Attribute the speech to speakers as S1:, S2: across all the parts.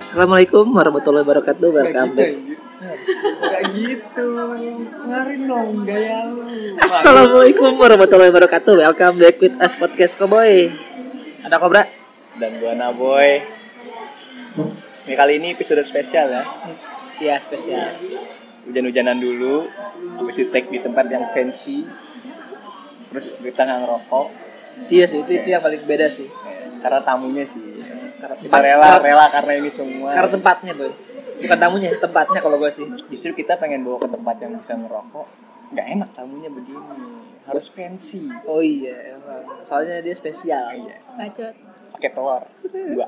S1: Assalamualaikum warahmatullahi wabarakatuh.
S2: gitu
S1: Welcome
S2: ya.
S1: back.
S2: Gak gitu. Kemarin dong gaya lu.
S1: Assalamualaikum warahmatullahi wabarakatuh. Welcome back with us podcast Cowboy. Ada Kobra?
S2: Dan gua Naboy. Ini kali ini episode spesial ya.
S1: Iya spesial.
S2: Hujan-hujanan dulu. Habis itu take di tempat yang fancy. Terus kita nggak ngerokok.
S1: Iya sih itu, itu yang paling beda sih.
S2: Eh, Karena tamunya sih.
S1: Karena
S2: Kita
S1: tempat-
S2: rela,
S1: karena-
S2: rela karena ini semua.
S1: Karena tempatnya boy. Bukan tamunya, tempatnya kalau gue sih.
S2: Justru kita pengen bawa ke tempat yang bisa ngerokok. Gak enak tamunya begini. Harus fancy.
S1: Oh iya, emang. soalnya dia spesial.
S2: Iya.
S3: Bacot.
S2: Pakai telur. Dua.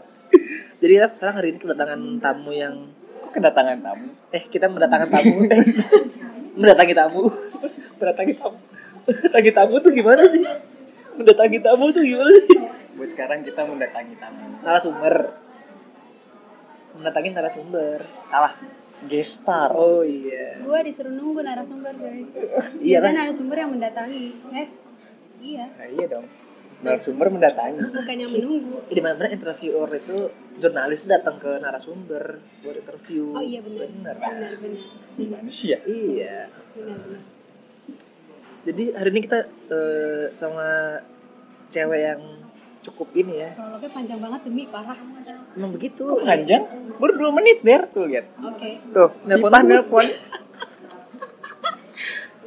S1: Jadi kita sekarang hari ini kedatangan tamu yang
S2: Kok kedatangan tamu?
S1: eh kita mendatangkan tamu, eh, mendatangi tamu, mendatangi tamu, mendatangi tamu tuh gimana sih? Mendatangi tamu tuh gimana sih?
S2: Buat sekarang kita mendatangi tamu.
S1: narasumber mendatangi narasumber
S2: Salah. Gestar.
S1: oh iya
S3: Gua disuruh nunggu narasumber, coy.
S1: Iya
S3: Biasanya
S1: lah.
S3: narasumber yang mendatangi. Eh, iya.
S2: Nah, iya dong. Narasumber mendatangi.
S3: Bukan yang menunggu.
S1: di mana mana interviewer itu jurnalis datang ke narasumber buat interview
S3: Oh iya benar.
S1: benar kan?
S3: Benar, benar.
S2: Gimana sih ya?
S1: iya
S3: Benar, benar.
S1: jadi hari ini kita eh, sama cewek yang cukup ini ya
S3: Prolognya panjang banget demi parah.
S1: emang begitu
S2: Kok panjang? Baru 2 menit, Der. Tuh, lihat.
S3: Oke,
S1: tuh nelfon nelfon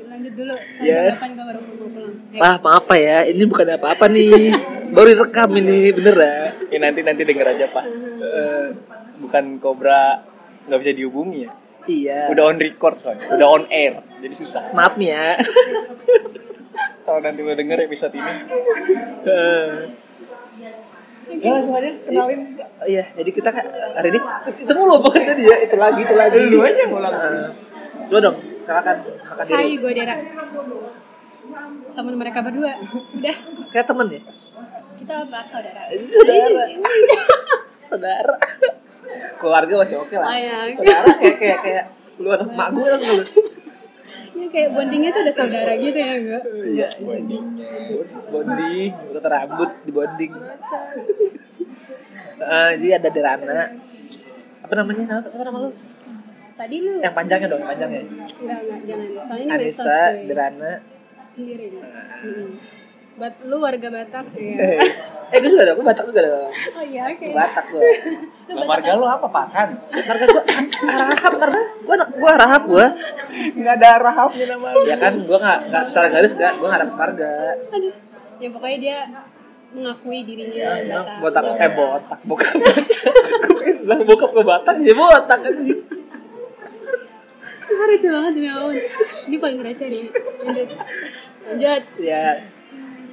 S3: lanjut dulu.
S1: Iya.
S3: Saya kapan gua baru mau pulang. Eh,
S1: ah apa ya ini bukan apa apa nih baru direkam ini bener ya
S2: Ya, nanti-nanti denger aja, Pak. Eh, bukan Cobra nggak bisa dihubungi ya.
S1: iya
S2: Udah on record soalnya. Udah on air. Jadi susah.
S1: maaf nih ya
S2: Kalau nanti lo denger episode ini. Eh. Ya langsung aja kenalin.
S1: Oh Iya, jadi kita kan hari ini itu mulu bukan tadi ya, itu lagi itu lagi.
S2: Lu aja yang ngulang.
S1: Heeh. Lu dong, silakan makan diri.
S3: Hai, gua Dera. Teman mereka berdua. Udah,
S1: Kayak temen ya,
S3: kita bahas saudara.
S1: Ini saudara, saudara. Keluarga masih oke lah.
S3: Oh, iya, oke.
S1: Saudara kayak kayak kayak lu anak mak gue lah lu.
S3: Ini kayak bondingnya tuh ada saudara gitu ya, gua.
S1: Iya, ini
S2: Bondingnya.
S1: bonding, kata rambut di bonding. Eh, jadi ada Derana. Apa namanya? Nama, siapa nama lu?
S3: Tadi lu
S1: Yang panjangnya dong, yang panjangnya.
S3: enggak enggak jangan. Soalnya
S1: Iya.
S3: ini medsos,
S1: Anissa,
S3: cuy.
S1: Derana.
S3: sendiri. Hmm. Buat lu warga Batak ya.
S1: eh, gue juga dong, gue Batak juga dong.
S3: Oh iya, oke.
S1: Gue Batak gue.
S2: Keluarga Nah, lo apa, Pakan?
S1: Ntar gue rahap, ntar gue anak gue rahap gue.
S2: Nggak ada rahapnya nama lu.
S1: Ya kan gue nggak nggak secara garis nggak gue nggak ada keluarga.
S3: Aduh. Ya pokoknya dia mengakui dirinya
S1: Ya,
S3: Batak.
S1: botak eh botak bukan gue bilang bokap gue batak dia botak kan
S3: Ah, Receh banget demi ampun. Ini paling receh nih. Lanjut. Lanjut.
S1: ya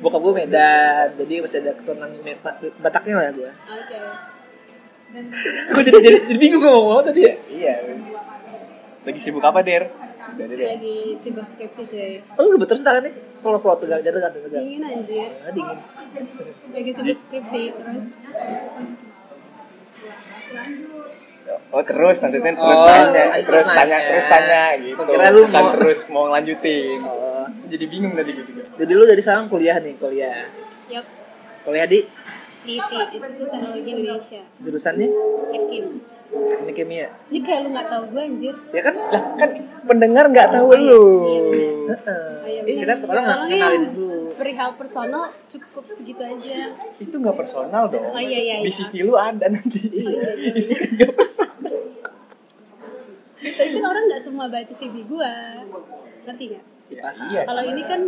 S1: bokap gue Medan jadi masih ada keturunan Med- Bataknya lah gue
S3: Oke. Dan
S1: gue jadi jadi, jadi bingung gue ngomong apa tadi ya
S2: Iya. Lagi sibuk apa, Der? Udah,
S1: ya.
S2: Der.
S3: lagi sibuk skripsi cuy.
S1: oh, lu udah betul sekarang nih slow slow tegak jatuh jatuh tegak
S3: Dingin anjir.
S1: Ah, dingin
S3: Lagi sibuk skripsi terus.
S2: Oh terus maksudnya terus
S1: Oh,
S2: tanya,
S1: terus
S2: terus
S1: nanya.
S2: tanya, terus tanya gitu.
S1: Gua kira lu
S2: Bukan
S1: mau-
S2: terus mau lanjutin.
S1: oh,
S2: Jadi bingung tadi gitu.
S1: jadi lu dari sekarang kuliah nih kuliah
S3: Yap.
S1: kuliah di
S3: IT Institut Teknologi Indonesia.
S1: jurusannya
S3: Ekim.
S1: teknik kimia
S3: Ini kayak lu nggak tahu gue anjir.
S1: ya kan
S2: Lah kan pendengar nggak tahu lu.
S1: Heeh.
S3: Ayo,
S1: Eh, kita pertama nggak
S3: Tolong ya.
S1: kenalin dulu
S3: Perihal personal cukup segitu aja.
S2: Itu nggak personal dong.
S3: Oh, iya, iya,
S2: Di
S3: iya.
S2: CV lu ada nanti. Ini kan nggak personal.
S3: Tapi kan orang nggak semua baca CV gua. Ngerti nggak?
S2: Ya, iya.
S3: Kalau ini kan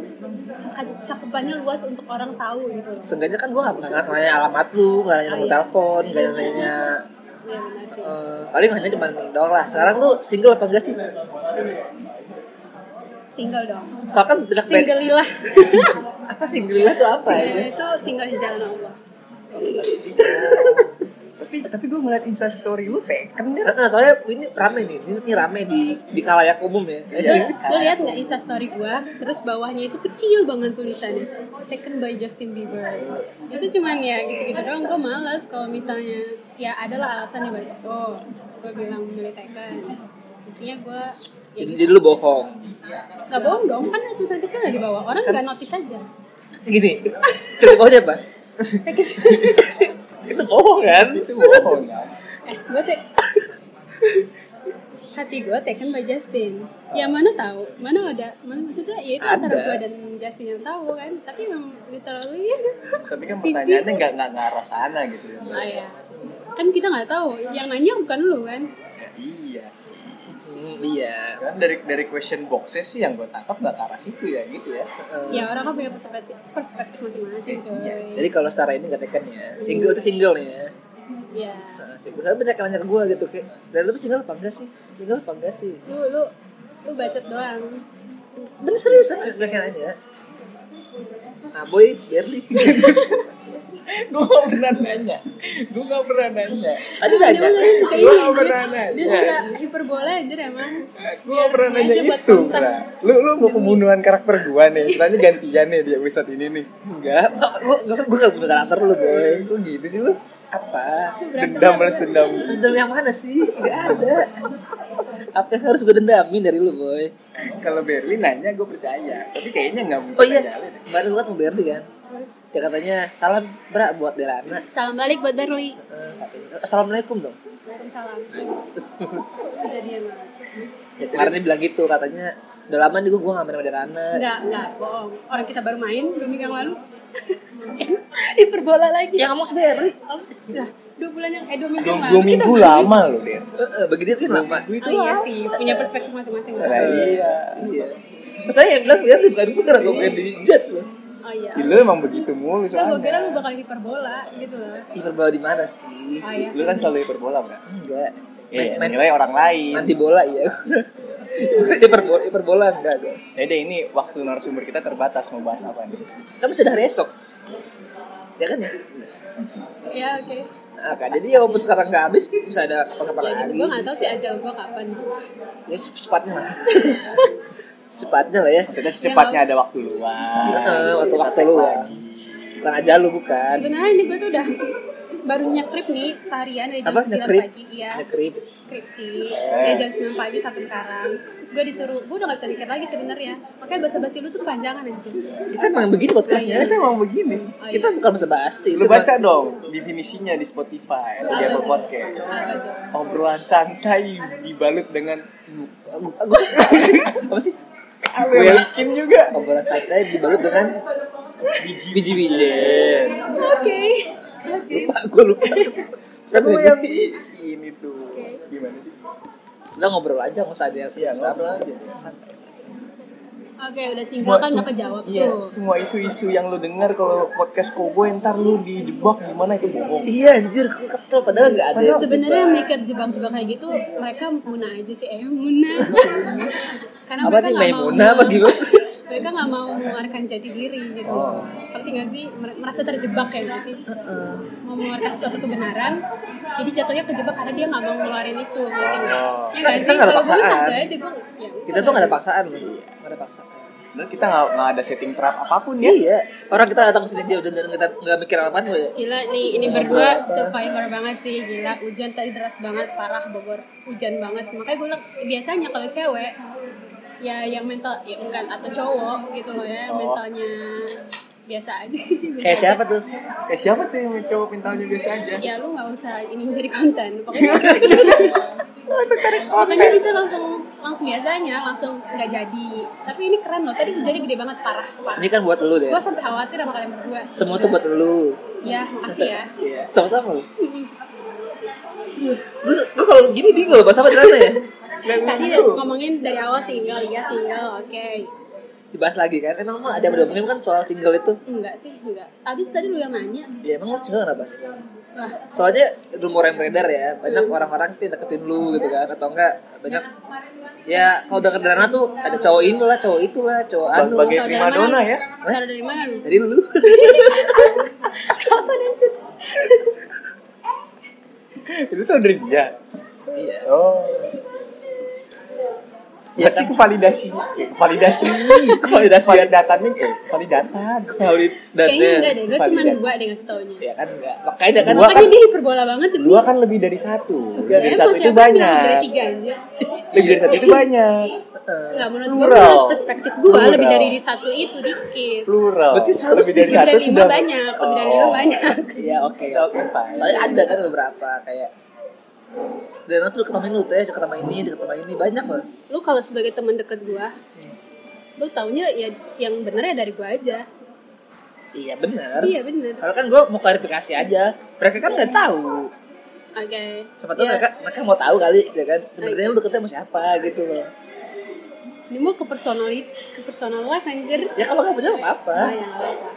S3: cakupannya luas untuk orang tahu gitu loh.
S1: Seenggaknya kan gue gak pernah nanya alamat lu, gak nanya nomor
S3: Ah, iya.
S1: telepon, gak nanya
S3: Iya benar sih.
S1: eh, paling hanya cuma ini doang lah. Sekarang lu single apa enggak sih?
S3: Single dong.
S1: Soalnya kan bilang
S3: Single lilah.
S1: apa single lah tuh apa ya?
S3: Single itu single di jalan Allah.
S2: Tapi tapi gue ngeliat Insta story lu teken kan.
S1: Heeh, Nah, soalnya ini rame nih, ini, ini rame di di kalayak umum ya.
S2: Iya.
S3: Lo Iya, lihat nggak Insta story gua? Terus bawahnya itu kecil banget tulisannya. Taken by Justin Bieber. Itu cuman ya gitu-gitu doang. Gua males kalau misalnya ya adalah alasan di balik itu. Gua bilang milih taken. Intinya gua ya
S1: Jadi jadi lu bohong.
S3: nggak bohong dong kan ada tulisan kecil nggak di bawah orang nggak notice aja
S1: Gini, cerita bohongnya apa?
S3: Taken.
S1: Itu bohong kan?
S2: Itu bohong kan.
S3: eh gue teh hati gue taken by Justin ya mana tahu mana ada mana maksudnya ya itu antara
S2: Oh. Ada.
S3: gue dan Justin yang tahu kan tapi memang literally
S2: Tapi kan
S3: Cici.
S2: pertanyaannya nggak nggak ngarah sana gitu ya.
S3: ah, ya. kan kita nggak tahu yang nanya bukan lu kan
S2: Iya sih.
S1: Hmm, iya.
S2: Cuman dari dari question boxnya sih yang gue tangkap nggak ke arah situ ya gitu ya.
S1: Eh,
S3: ya orang kan punya perspektif perspektif masing-masing coy
S2: Iya,
S1: Jadi kalau secara ini gak taken ya. Single itu single nih ya.
S3: ya
S1: Nah, single. Soalnya banyak yang nanya ke gue gitu. kayak, Dan lu tuh single apa enggak sih? Single apa enggak sih?
S3: lu lu lu bacot doang
S1: Bener serius kan banyak yang nanya. Nah, boy, Berli.
S2: gue nggak pernah nanya. Gue nggak pernah nanya.
S1: Tadi
S3: Ah,
S1: nanya.
S3: dia dia suka
S2: Gua Iya.
S3: ini
S2: nggak pernah
S3: anjir.
S2: nanya.
S3: dia suka hiperbola anjir emang
S2: Gue nggak pernah
S3: Biar dia
S2: nanya
S3: Iya, aja buat
S2: itu,
S3: konten.
S2: Bra. Lu lu mau pembunuhan karakter gue nih. Sebenarnya gantian nih di episode ini nih.
S1: Enggak, gue gue gue gak punya karakter lu boy.
S2: Kok gitu sih lu?
S1: Apa?
S3: Berantem
S2: Dendam
S3: apa?
S2: balas dendam.
S1: Dendam yang mana sih? Gak ada. Apa yang harus gue dendamin dari lu boy?
S2: Kalau Berlin nanya gue percaya, tapi kayaknya nggak mungkin
S1: Oh iya,
S2: nanya.
S1: kemarin gue ketemu Berli kan. Dia katanya salam berat buat Delana.
S3: salam balik buat Berli
S1: Eh, katanya, Assalamualaikum dong.
S3: salam udah dia mah
S1: Ya, kemarin dia bilang gitu katanya udah lama nih gue gue nggak main sama Delana.
S3: enggak enggak bohong orang kita baru main dua minggu yang lalu hiperbola lagi
S1: Yang ngomong sebenarnya.
S3: Oh, lah dua bulan yang eh dua minggu
S2: Dua,
S3: yang lalu
S2: dua minggu lama loh dia.
S1: Eh, eh, bagi dia kan lama.
S2: Minggu itu
S3: oh iya
S2: lama.
S3: sih punya perspektif masing-masing
S2: Nah,
S1: Eh.
S3: lah
S2: iya.
S1: Iya. Saya yang bilang Berli bukan gue karena gue pengen di judge loh.
S3: oh iya
S2: Ih, Lu emang begitu mulu
S3: Enggak, gue kira
S2: soalnya.
S3: lu bakal hiperbola gitu loh
S1: Hiperbola di mana sih?
S3: oh iya
S2: Lu kan selalu hiperbola, Bra.
S1: Enggak.
S2: Iya,
S1: Main- main-
S2: menilai orang lain.
S1: Nanti bola ya. Hiperbola, hiperbola enggak gue.
S2: Ya deh, ini waktu narasumber kita terbatas mau bahas apa nih.
S1: Kamu sudah Kan hari esok. Ya kan ya?
S3: iya oke
S1: Nah, kan, jadi ya walaupun sekarang nggak habis bisa ada kapan-kapan
S3: ya
S1: lagi.
S3: gue nggak tahu sih ajal gue kapan
S1: Ya cep- cepatnya lah. cepatnya lah ya.
S2: Maksudnya secepatnya ada waktu luang.
S1: Heeh, waktu-waktu
S2: Kita tag
S1: Eh, luang.
S2: lagi.
S1: Bukan aja lu bukan.
S3: sebenarnya ini gue tuh udah baru nyekrip nih seharian dari jam
S1: Apa
S3: 9
S1: nyekrip?
S3: pagi iya
S1: Ngekrip.
S3: skripsi dari jam 9 pagi sampai sekarang terus gue disuruh gue udah gak bisa mikir lagi sebenarnya makanya bahasa basi lu tuh kepanjangan aja
S1: Kita emang begini podcastnya.
S2: Kita emang begini.
S3: iya. oh,
S1: Kita bukan bahasa basi.
S2: Lu baca dong definisinya di Spotify atau di
S3: Apa
S2: Apple
S3: tuh?
S2: Podcast.
S3: Apa tuh?
S2: Obrolan santai dibalut dengan
S1: Gue apa sih?
S2: gue yakin juga
S1: Obrolan santai ya dibalut dengan biji-biji.
S3: oke oke
S1: Lupa, gue lupa.
S2: Kan lu yang
S1: Kita
S2: ini tuh gimana sih?
S1: ngobrol aja, nggak usah ada yang
S2: Iya,
S1: susah.
S2: ngobrol aja.
S3: oke udah single kan udah kejawab
S2: iya,
S3: tuh
S2: semua isu-isu yang lu dengar kalau podcast Kobo ntar lu dijebak gimana itu bohong.
S1: Iya anjir, gue kesel padahal nggak ada. yang
S3: sebenarnya
S1: coba.
S3: mikir jebak-jebak kayak gitu mereka muna aja sih eh muna karena
S1: Apa
S3: mereka
S1: nih,
S3: nggak mau
S1: Maimuna apa gimana?
S3: mereka nggak mau mengeluarkan jati diri gitu
S2: Oh.
S3: ngerti nggak sih Mer- merasa terjebak ya nggak sih
S1: Heeh.
S3: mau mengeluarkan suatu kebenaran jadi jatuhnya kejebak karena dia nggak mau ngeluarin itu ngerti nggak
S2: Oh.
S3: ya nggak
S1: Kita
S3: sih
S1: nggak ada
S3: kalau gue
S1: paksaan.
S3: santai aja gue ya,
S1: Kita tuh nggak ada paksaan, loh. nggak ada paksaan.
S2: Dan kita nggak nggak ada setting trap apapun ya.
S1: Iya, orang kita datang sini aja udah dan kita nggak mikir apa apa ya.
S3: Gila nih, ini berdua survivor banget sih, gila. Hujan tadi deras banget, parah Bogor. Hujan banget. Makanya gue bilang, biasanya kalau cewek ya yang mental ya enggak atau cowok gitu loh ya,
S2: Oh.
S3: mentalnya biasa aja.
S1: Kayak siapa tuh?
S2: Eh siapa tuh yang cowok pintalnya biasa aja?
S3: Ya lu nggak usah ini jadi konten. Pokoknya makanya bisa langsung langsung biasanya langsung nggak jadi. Tapi ini keren loh. Tadi hujannya gede banget, parah. parah.
S1: Ini kan buat lu deh.
S3: Gue sampai khawatir sama kalian berdua.
S1: Semua tuh buat lu.
S3: Ya, makasih ya.
S1: Iya. Sama-sama lu. Gue kalau gini bingung loh, bahasa apa dirasa ya?
S3: Tadi ngomongin dari awal single, ya single, oke.
S1: Dibahas lagi kan, emang mah ada yang mungkin kan soal single itu.
S3: Enggak sih, enggak. Abis tadi lu yang nanya.
S1: Ya emang lu single kenapa sih?
S3: Lah,
S1: Soalnya rumor yang beredar ya, banyak orang-orang tuh yang deketin lu gitu kan, atau enggak banyak ya kalau udah kedarana tuh ada cowowok ini lah, cowok itu lah, cowok
S2: Ba-
S1: anu.
S2: bagai
S3: tahu dari
S2: prima
S3: mana?
S2: donna ya.
S3: taruh dari mana lu?
S1: Jadi lu
S3: Apa sih?
S2: Itu tuh dari dia.
S1: Iya.
S2: Oh.
S1: Iya
S2: Berarti
S1: kan?
S2: validasi, validasi, validasi, validatan nih, eh, validatan.
S1: Valid dan eh,
S3: Kayaknya enggak deh, gue cuma
S2: Validan.
S3: dua deh ngasih taunya.
S1: Ya kan enggak. Makanya dia kan
S2: Dua
S3: Makanya
S2: Iya, kan-
S3: dia hiperbola banget demi.
S2: Dua kan lebih dari satu,
S1: Enggak,
S2: lebih dari
S3: Emang
S2: satu itu
S3: siapa yang bilang Dari
S2: banyak.
S3: tiga aja.
S2: Lebih dari satu itu banyak.
S1: Heeh.
S3: Enggak, menurut gue,
S2: Plural.
S3: menurut perspektif gue,
S2: Plural.
S3: lebih dari di satu itu dikit.
S2: Plural.
S1: Berarti seratus
S2: lebih dari
S3: Lebih
S2: satu
S3: dari lima
S2: sudah
S3: banyak, lebih dari lima
S2: Oh.
S3: banyak.
S1: Iya oke.
S2: Oke, fine.
S1: Soalnya ada kan beberapa kayak Dan nanti deket sama ini lu teh, deket sama ini, deket sama ini, banyak lah.
S3: lu kalau sebagai teman dekat gua lu taunya ya yang bener ya dari gua aja
S1: Iya bener.
S3: iya bener
S1: Soalnya kan gue mau klarifikasi aja. Mereka kan nggak tahu.
S3: oke
S1: Siapa tahu
S3: Ya,
S1: mereka mereka mau tahu kali, ya kan? Sebenarnya lu deketnya sama siapa gitu loh.
S3: ini mau ke personalit ke personal life anjir
S1: Ya kalau nggak bener nggak apa-apa.
S3: Ah, ya, nggak apa-apa.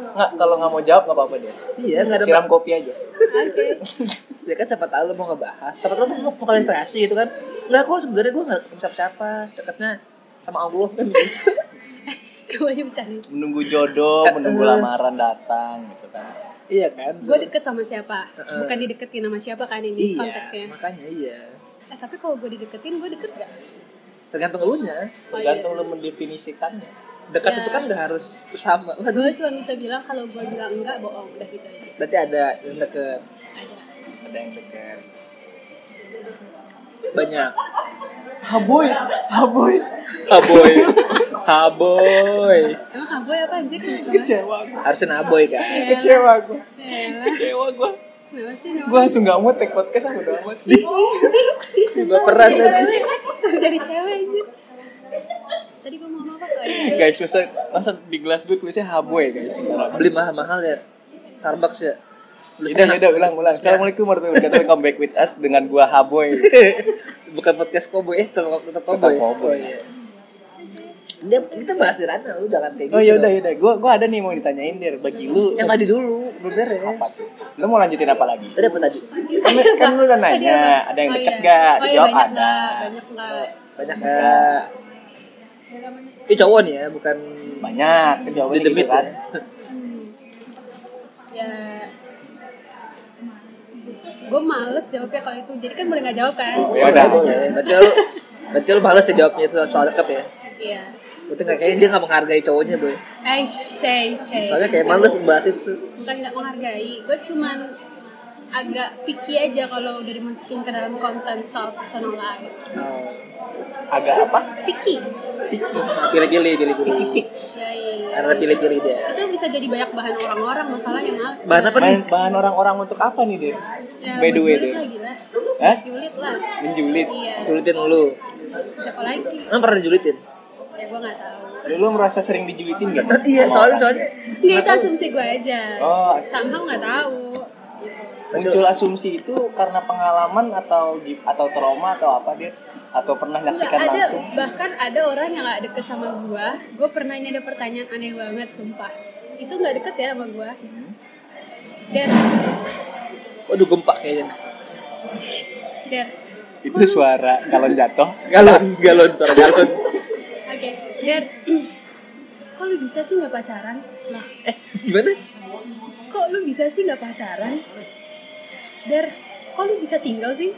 S2: Nggak, kalau nggak mau jawab nggak apa-apa dia.
S1: Iya nggak ada.
S2: Siram kopi aja.
S3: oke
S1: Ya kan siapa tahu lu mau ngebahas. Siapa tahu lu mau klarifikasi gitu kan? Nggak kok sebenarnya gue nggak ketemu siapa-siapa. Deketnya sama Allah kan bisa.
S3: Gak boleh bercanda
S2: Menunggu jodoh,
S1: Eh,
S2: menunggu lamaran datang gitu
S3: Oh,
S2: kan.
S1: iya kan?
S3: gue deket sama siapa
S1: Heeh.
S3: bukan dideketin sama siapa kan ini konteksnya
S1: Iya, makanya iya.
S3: eh, tapi kalau gue dideketin gue deket gak
S1: Tergantung elunya.
S3: Oh,
S2: Tergantung lu mendefinisikannya.
S1: Dekat
S3: Ya.
S1: itu kan nggak harus sama.
S3: gue cuma bisa bilang kalau gue bilang enggak bohong udah gitu aja
S1: Berarti ada yang deket
S3: ada
S2: Ada yang dekat.
S1: banyak.
S2: Haboy, haboy,
S1: Ah,
S2: haboy, Ah, haboy.
S3: emang aboy apa anjir
S2: Kecewa gue,
S1: Harusnya naboy
S3: Iya.
S1: kan?
S2: kecewa gue,
S3: Yalah,
S2: kecewa gue.
S3: kenapa sih Noah?
S2: Gue langsung nggak mau take podcast sama udah amat.
S3: Iya.
S1: Gak peran lagi.
S3: dari cewek anjir tadi gue mau ngomong apa Oh, iya.
S2: Guys, masa masa di gelas gue tulisnya haboy guys.
S1: Beli mahal-mahal ya. Starbucks ya. Beli
S2: Udah,
S1: snack.
S2: udah, ulang, ulang. Assalamualaikum warahmatullahi wabarakatuh. Welcome back with us dengan gua Haboy.
S1: Bukan podcast koboy, eh tetap tetap koboy.
S2: Tetap Cowboy.
S1: Oh, iya. Dia, kita bahas di ranah lu jangan kayak gitu.
S2: Oh ya udah, udah. Gua, gua ada nih mau ditanyain dir bagi lu.
S1: Yang tadi dulu belum beres.
S2: apa tuh? Lu mau lanjutin apa lagi?
S1: Tadi apa tadi?
S2: Kan, kan lu udah
S3: Tadi apa?
S2: nanya, ada yang
S3: Oh,
S2: deket
S3: iya.
S2: gak?
S3: Oh, iya,
S2: Dijawab
S3: banyak
S2: ada.
S3: lah, banyak lah
S1: Banyak nggak? Ini cowok nih ya, bukan
S2: Banyak, jawabannya gitu
S1: dedemit
S2: kan.
S1: kan?
S3: Hmm. ya gue males jawabnya kalau itu jadi kan boleh nggak jawab kan
S2: Oh, ya udah.
S1: Berarti lu, berarti lu males ya jawabnya itu soal deket ya?
S3: iya
S1: Berarti nggak kayaknya dia nggak menghargai cowoknya boy.
S3: eh shay shay
S1: Soalnya kayak males membahas itu.
S3: bukan nggak menghargai gue cuman agak picky aja kalau udah dimasukin ke dalam konten soal personal life
S1: Oh.
S2: Agak apa?
S3: picky
S1: Pilih-pilih, pilih-pilih.
S3: ya, iya.
S1: Karena pilih-pilih dia.
S3: itu bisa jadi banyak bahan orang-orang masalahnya males
S1: Bahan apa nih?
S2: Bahan, bahan orang-orang untuk apa nih dir?
S3: ya,
S2: By the way
S3: menjulit
S2: dir,
S3: lah gila
S2: Hah?
S3: Menjulit lah
S2: menjulit.
S3: iya
S1: Julitin lu.
S3: siapa lagi
S1: Emang pernah dijulitin?
S3: ya gue nggak tahu
S2: Lu, lu merasa sering dijulitin gak?
S1: iya, soalnya soalnya
S3: nggak itu asumsi gue aja
S2: Oh, asumsi.
S3: sama nggak tahu gitu.
S2: muncul asumsi itu karena pengalaman atau gi- atau trauma atau apa dia atau pernah
S3: Nggak
S2: nyaksikan
S3: ada
S2: langsung
S3: bahkan ada orang yang nggak deket sama gue gue pernah ini ada pertanyaan aneh banget sumpah itu nggak deket ya sama gue der
S1: waduh gempa kayaknya.
S3: der
S2: itu suara galon jatuh
S1: Galon, galon, suara galon.
S3: oke der kok lu bisa sih nggak pacaran Nah, lah
S1: eh, gimana?
S3: kok lu bisa sih nggak pacaran der kok lu bisa single sih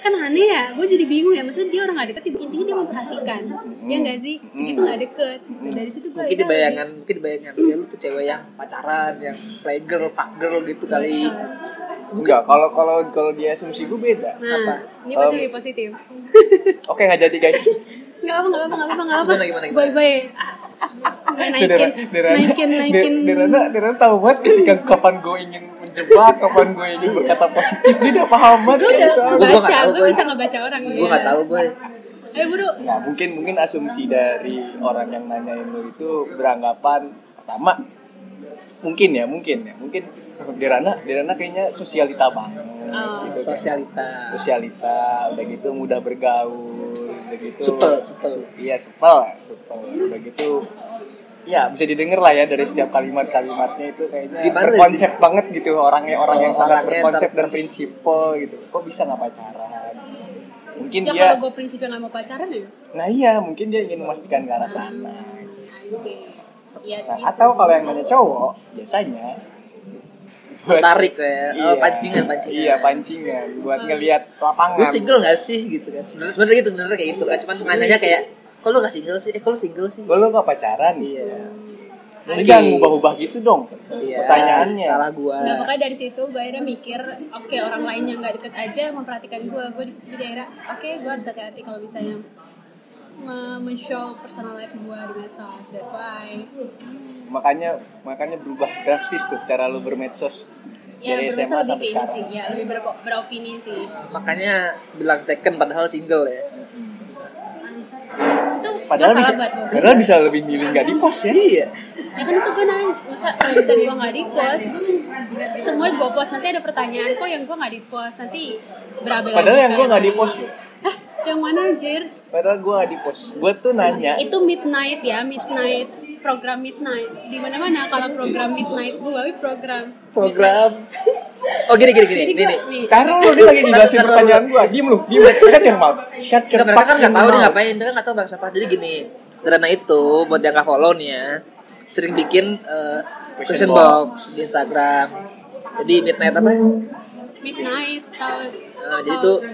S3: kan aneh ya gue jadi bingung ya maksudnya dia orang nggak deket intinya dia memperhatikan ya nggak sih segitu nggak deket Nah, dari situ gue
S1: Mungkin di bayangan, mungkin di bayangan ya, lu tuh cewek yang pacaran, yang playgirl, fuckgirl gitu kali.
S2: enggak kalau kalau kalau dia asumsi gue beda
S3: nah
S1: Apa?
S3: ini pasti
S2: Um,
S3: lebih positif
S2: oke nggak jadi guys
S3: nggak apa nggak apa nggak apa nggak apa
S1: Gimana, gimana, gimana?
S3: bye bye naikin naikin naikin
S2: Dirana, Dirana tahu banget ketika kapan gue ingin menjebak, kapan gue ingin berkata positif, dia udah paham banget.
S3: gue
S2: kan,
S3: udah
S2: soalnya.
S1: Gua nggak
S3: baca
S1: tahu,
S3: gue
S1: gua-
S3: bisa nggak baca orang
S1: Gue nggak tahu gue.
S3: ayo buru
S2: Nah, mungkin mungkin asumsi dari orang yang nanyain lo itu beranggapan pertama mungkin ya, mungkin ya, mungkin Dirana, Dirana kayaknya sosialita banget.
S3: Oh.
S2: gitu kan.
S1: Sosialita.
S2: Sosialita, udah gitu mudah bergaul, udah gitu.
S1: Supel, supel.
S2: Iya, supel, supel. Udah gitu Ya bisa didengar lah ya dari setiap kalimat-kalimatnya itu kayaknya
S1: Gimana ya?
S2: berkonsep banget gitu orangnya orang yang sangat
S1: Orangnya
S2: berkonsep
S1: ter-
S2: dan prinsipal gitu. Kok bisa nggak pacaran? Mungkin
S3: ya
S2: dia
S3: kalau gue prinsipnya nggak mau pacaran ya
S2: Nah iya, mungkin dia ingin memastikan ke arah sana.
S3: I see. Iya
S2: Nah,
S3: sih.
S2: atau kalau yang nanya cowok, biasanya buat-
S1: Tarik ya. Oh,
S2: Iya.
S1: pancingan, pancingan.
S2: Iya, pancingan buat ngelihat lapangan.
S1: Lu single gak sih gitu kan? Sebenarnya sebenarnya gitu sebenarnya kayak gitu kan. Cuman nanyanya kayak, kok lu gak single sih? Eh, kok lu single sih?
S2: Gua lu gak pacaran.
S1: Iya.
S2: Lu jangan ngubah-ubah gitu dong. Pertanyaannya.
S1: Salah gua.
S3: Nah, makanya dari situ gue akhirnya mikir, oke orang lain yang nggak deket aja memperhatikan gue, gue di situ jadi akhirnya, oke gue harus hati-hati kalau misalnya me- men-show personal life gue di medsos, that's why.
S2: Makanya makanya berubah drastis tuh cara lu bermedsos.
S3: ya
S2: dari SMA
S3: berusaha lebih
S2: sampai
S3: ke ini sih
S2: sekarang.
S3: ya lebih ber- beropini sih
S1: Makanya bilang Tekken padahal single ya.
S3: itu
S2: Padahal
S3: masalah
S2: bisa,
S3: buat gue
S2: padahal bisa lebih milih nggak di post ya.
S1: Iya.
S3: ya kan itu gue nanya masa kalau bisa gue nggak di post gue semua gue post nanti ada pertanyaan kok yang gue nggak di post nanti berabel
S2: Padahal yang gue nggak di post ya.
S3: Hah, yang mana anjir
S2: Padahal gue nggak di post. Gue tuh nanya.
S3: itu midnight ya midnight program midnight di mana mana kalau program midnight gue program
S1: Program. Oh gini gini gini. Nih
S3: Jadi gua-
S1: nih.
S3: nih.
S2: Taruh lu dia lagi
S1: Taruh,
S2: dikasih
S1: taruh,
S2: pertanyaan gue. Diem lu, diem lu. Kan yang mau. Shut your
S1: Enggak, mereka kan
S2: fucking
S1: nggak tahu dia
S2: mouth.
S1: ngapain, mereka nggak tahu bangsa apa. Jadi gini, Rana itu buat yang nggak follow nih ya, sering bikin eh, question
S2: Question
S1: box di Instagram. Jadi midnight apa?
S3: midnight tahu
S1: Nah, jadi tuh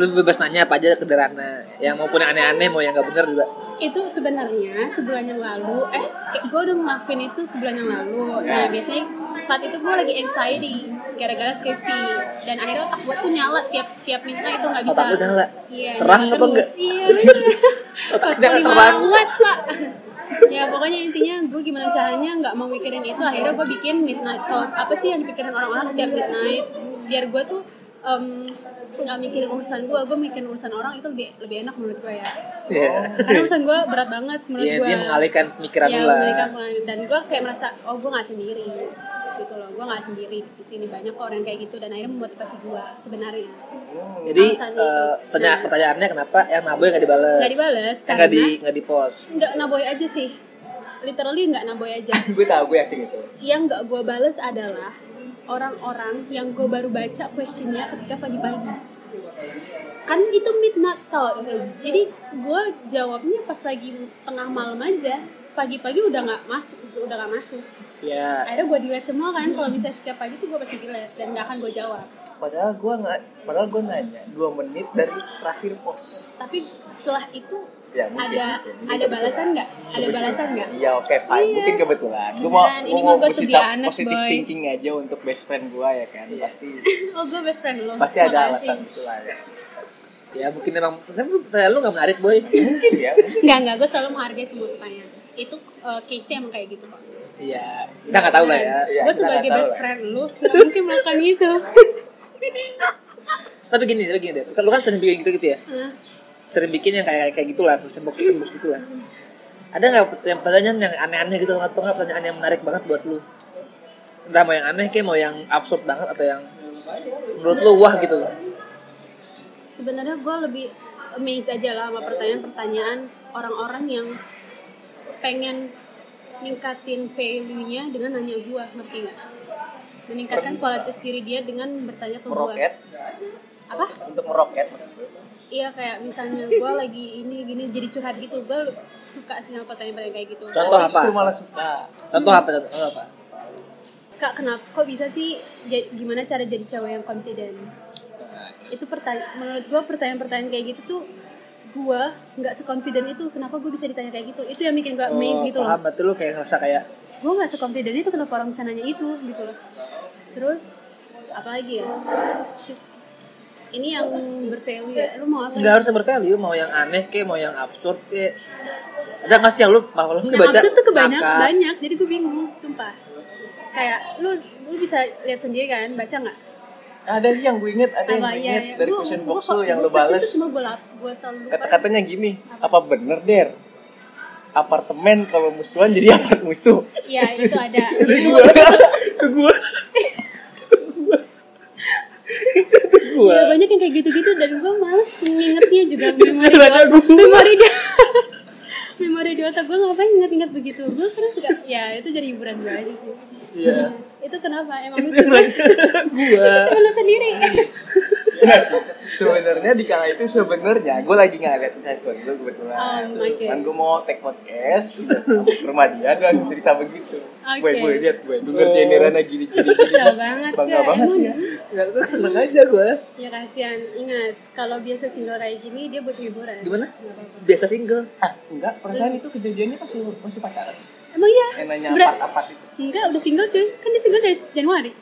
S1: lu bebas nanya apa aja ke Derana yang maupun yang aneh-aneh mau yang nggak bener juga
S3: itu sebenarnya sebulan yang lalu eh kayak gue udah ngelakuin itu sebulan yang lalu
S1: Ya.
S3: nah biasanya saat itu gue lagi anxiety gara-gara skripsi dan akhirnya otak gue tuh nyala tiap tiap minta itu nggak bisa
S1: Otak lu nyala?
S3: iya,
S1: Terang
S3: nyala
S1: apa
S3: terus.
S1: enggak?
S3: iya bener
S1: Otak
S3: Otak
S1: jangan
S3: gua
S1: terang.
S3: ngawat, pak ya pokoknya intinya gue gimana caranya nggak mau mikirin itu akhirnya gue bikin midnight thought apa sih yang dipikirin orang-orang setiap midnight biar gue tuh em, nggak mikirin urusan gue gue mikirin urusan orang itu lebih lebih enak menurut gue ya
S1: Iya,
S3: karena urusan gue berat banget menurut
S1: Iya,
S3: gue
S1: dia mengalihkan pemikiran
S3: ya,
S1: lu lah.
S3: mengalihkan pengalaman. dan gue kayak merasa oh gue nggak sendiri gitu loh gue nggak sendiri di sini banyak kok orang kayak gitu dan akhirnya memotivasi gue sebenarnya
S1: Jadi
S3: Alasannya
S1: eh,
S3: itu.
S1: pertanya-
S3: Nah.
S1: pertanyaannya kenapa yang naboy nggak dibales?
S3: Nggak
S1: Eh,
S3: dibales,
S1: nggak di
S3: karena-
S1: nggak di post.
S3: nggak naboy aja sih literally nggak naboy aja
S2: Gue tahu, gue yakin itu.
S3: yang nggak gue bales adalah orang-orang yang gue baru baca questionnya ketika pagi-pagi kan itu midnight thought jadi gue jawabnya pas lagi tengah malam aja pagi-pagi udah nggak ma- udah nggak masuk
S1: Ya,
S3: akhirnya gue delete semua kan kalau misalnya setiap pagi tuh gue pasti delete dan gak akan gue jawab
S2: Padahal gue nggak, padahal gue nanya dua menit dari terakhir post.
S3: tapi setelah itu
S2: Ya mungkin. mungkin.
S3: ada
S2: Mungkin
S3: ada
S2: kebetulan.
S3: balasan nggak ada balasan nggak
S2: Iya oke fine,
S3: Iya.
S2: mungkin kebetulan. Gue mau,
S3: Beneran, ini
S2: gua mau
S3: mah gua to be
S2: positif,
S3: honest,
S2: positive
S3: boy.
S2: thinking aja untuk best friend gue ya kan. Pasti
S3: oh gue best friend lo
S2: pasti ada alasan gitu lah ya.
S1: ya mungkin emang tapi pertanyaan lu nggak menarik boy.
S2: Mungkin ya.
S3: nggak nggak gue selalu menghargai semua pertanyaan itu eh, case-nya emang kayak gitu kok
S1: Iya, kita nggak tahu lah ya.
S2: Iya,
S3: gue
S2: kita nggak
S3: sebagai
S2: tahu
S3: best
S2: lah.
S3: friend lu nggak mungkin makan gitu
S1: Tapi gini, tapi gini deh. Lu kan sering bikin gitu gitu ya.
S3: Hah?
S1: Sering bikin yang kayak kayak gitulah, cembok cembok gitu lah. Ada nggak pertanyaan, pertanyaan yang aneh-aneh gitu atau nggak pertanyaan yang menarik banget buat lu? Entah mau yang aneh kayak mau yang absurd banget atau yang menurut lu wah gitu loh.
S3: sebenarnya gue lebih amazed aja lah sama pertanyaan-pertanyaan orang-orang yang pengen ningkatin value-nya dengan nanya gue ngerti nggak meningkatkan kualitas diri dia dengan bertanya ke gue
S2: Meroket,
S3: apa
S2: untuk meroket maksud gue.
S3: iya kayak misalnya gue lagi ini gini jadi curhat gitu gue suka sih sama pertanyaan-pertanyaan kayak gitu
S1: Contoh
S2: Tapi Justru
S1: apa?
S2: malah suka.
S1: Contoh apa? Contoh apa?
S3: kak kenapa kok bisa sih ja- gimana cara jadi cewek yang confident itu pertanyaan menurut gue pertanyaan-pertanyaan kayak gitu tuh gue nggak seconfident itu kenapa gue bisa ditanya kayak gitu itu yang bikin gue amazed gitu
S1: Oh, paham
S3: loh
S1: berarti lu kayak ngerasa kayak
S3: gue nggak seconfident itu kenapa orang bisa nanya itu gitu loh terus apa lagi ya Shit. ini yang bervalue ya lu mau apa
S1: nggak harus bervalue mau yang aneh kayak mau yang absurd kayak ada nggak sih yang lu malah lu
S3: Nah,
S1: baca
S3: maksud tuh kebanyak
S1: ngakak.
S3: banyak, jadi gue bingung, sumpah. Kayak lu lu bisa lihat sendiri kan, baca nggak?
S2: Nah, Ada sih yang gue inget, ada yang gue inget dari
S3: iya, Gua-
S2: question
S3: gua
S2: box
S3: kok-
S2: lu yang
S3: gua
S2: lu
S3: pasti
S2: bales.
S3: Itu semua gue lap, gue selalu lupa.
S2: Kata-katanya gini, apa bener der? Apartemen kalau musuhan jadi apart musuh.
S3: Iya itu ada.
S2: Itu
S3: Itu-
S2: gue. Itu gue.
S3: Iya banyak yang kayak gitu-gitu dan gue males ngingetnya juga memori
S2: Nanya
S3: dia.
S2: gua.
S3: Memori dia. memori di otak gue ngapain inget-inget begitu gue karena suka ya itu jadi hiburan gue aja sih
S1: iya
S3: itu kenapa emang lucu kan
S1: gua
S3: Itu lu sendiri
S2: Iya sih. Sebenarnya di kala itu sebenarnya gue lagi nggak lihat saya story gue kebetulan.
S3: Oh, oke.
S2: Kan gue mau take podcast tiba-tiba ke rumah dia dan cerita begitu.
S3: Oke.
S2: Gue gue lihat gue gue ngerjain Irana gini gini. gini.
S3: Susah banget
S2: Bangga
S3: gua.
S2: banget
S3: Emang
S2: ya.
S1: ya gua seneng aja gua
S3: Ya kasihan, ingat kalau biasa single kayak gini dia butuh hiburan.
S1: Gimana?
S3: Nggak apa-apa.
S1: biasa single
S2: Ah enggak, perasaan itu kejadiannya pas lu masih pacaran.
S3: Emang iya?
S2: Yang nanya
S3: Ber-
S2: apart apart itu.
S3: Enggak, udah single cuy. Kan dia single dari Januari.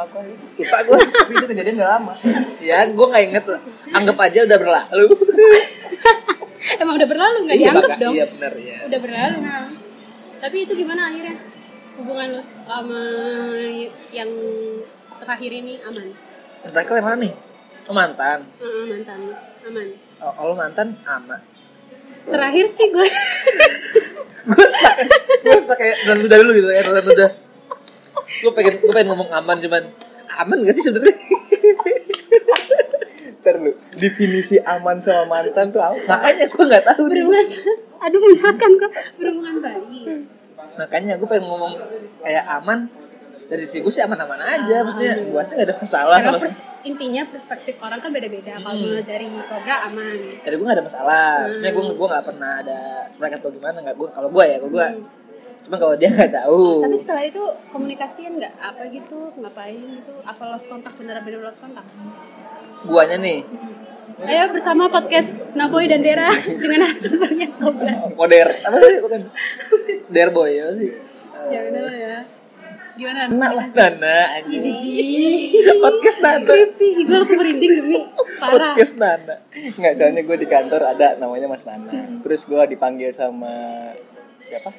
S2: Lupa gue itu.
S1: lupa gua
S2: kan? Tapi itu kejadian udah lama.
S1: ya gua nggak inget lah anggap aja udah berlalu
S3: Emang udah berlalu nggak
S1: Iya,
S3: dianggap
S1: bakal-
S3: dong.
S1: iya benar ya
S3: Udah berlalu. Tapi itu gimana akhirnya? hubungan lu sama y- yang terakhir ini aman
S1: Yang terakhir yang mana nih? Oh, mantan.
S3: Heeh, mantan aman
S1: Oh, kalau mantan ama.
S3: terakhir sih gue
S1: Gue stuck. Gue stuck kayak dan udah dulu gitu kayak dan udah. Gue pengen gue pengen ngomong aman cuman aman gak sih sebenarnya?
S2: Ntar lu, definisi aman sama mantan tuh apa?
S1: Makanya gue nggak tahu nih.
S3: berhubungan aduh menyehatkan kok berhubungan baik
S1: Makanya gue pengen ngomong kayak aman dari sisi gue sih aman-aman aja, maksudnya gue sih gak ada masalah
S3: karena
S1: sama
S3: pers- intinya perspektif orang kan beda-beda kalau
S1: Hmm.
S3: dari kobra aman
S1: dari gue gak ada masalah,
S2: Hmm.
S1: maksudnya gue gue gak pernah ada serangan atau gimana nggak gue kalau gue ya kalau gue,
S3: Hmm.
S1: cuman kalau dia nggak tahu.
S3: Tapi setelah itu komunikasian nggak apa gitu, ngapain gitu? Apa lost kontak bener-bener lost kontak?
S1: Guanya nih,
S3: Ayo bersama podcast Naboy dan Dera dengan narasumbernya Kobra.
S2: Koder.
S1: apa sih bukan Dare boy ya apa sih.
S3: Ya udah lah ya. Gimana?
S1: Nak lah Nana,
S3: Ih,
S1: anjing.
S3: jijik.
S1: Podcast Nana.
S3: Creepy, gue langsung merinding demi parah.
S1: podcast Nana. Hmm.
S2: Enggak, soalnya gue di kantor ada namanya Mas Nana. Terus gue dipanggil sama siapa?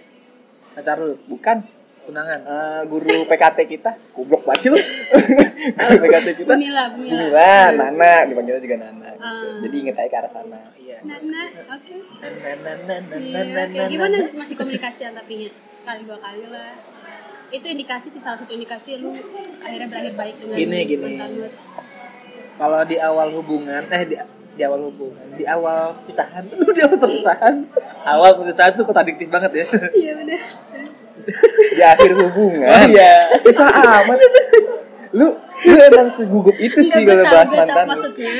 S1: Pacar lu,
S2: Bukan
S1: tunangan.
S2: eh, guru PKT kita. Goblok banget sih lu. guru PKT kita.
S3: Bumila, Bumila.
S1: Hmm.
S2: Bumila, Nana, dipanggilnya juga Nana. gitu.
S3: Ah.
S2: Jadi inget aja ke arah sana.
S1: Iya.
S3: Nana, oke.
S1: Nana Nana Nana
S3: Iya,
S1: Nana.
S3: oke. Gimana masih komunikasian tapinya? Sekali dua kali lah. Itu indikasi sih salah satu indikasi lu akhirnya berakhir baik dengan
S1: Gini, gini.
S3: mantan lu.
S1: Kalau di awal hubungan, eh di di awal hubungan, di awal pisahan, Aduh, di awal perpisahan, awal perpisahan tuh kontradiktif banget ya.
S3: Iya benar.
S2: Di akhir hubungan.
S1: Oh, susah amat.
S2: Lu lu emang segugup itu
S3: Enggak,
S2: sih
S3: gue
S2: kalau
S3: tahu,
S2: bahas
S3: gue tahu.
S2: mantan. lu.
S3: Maksudnya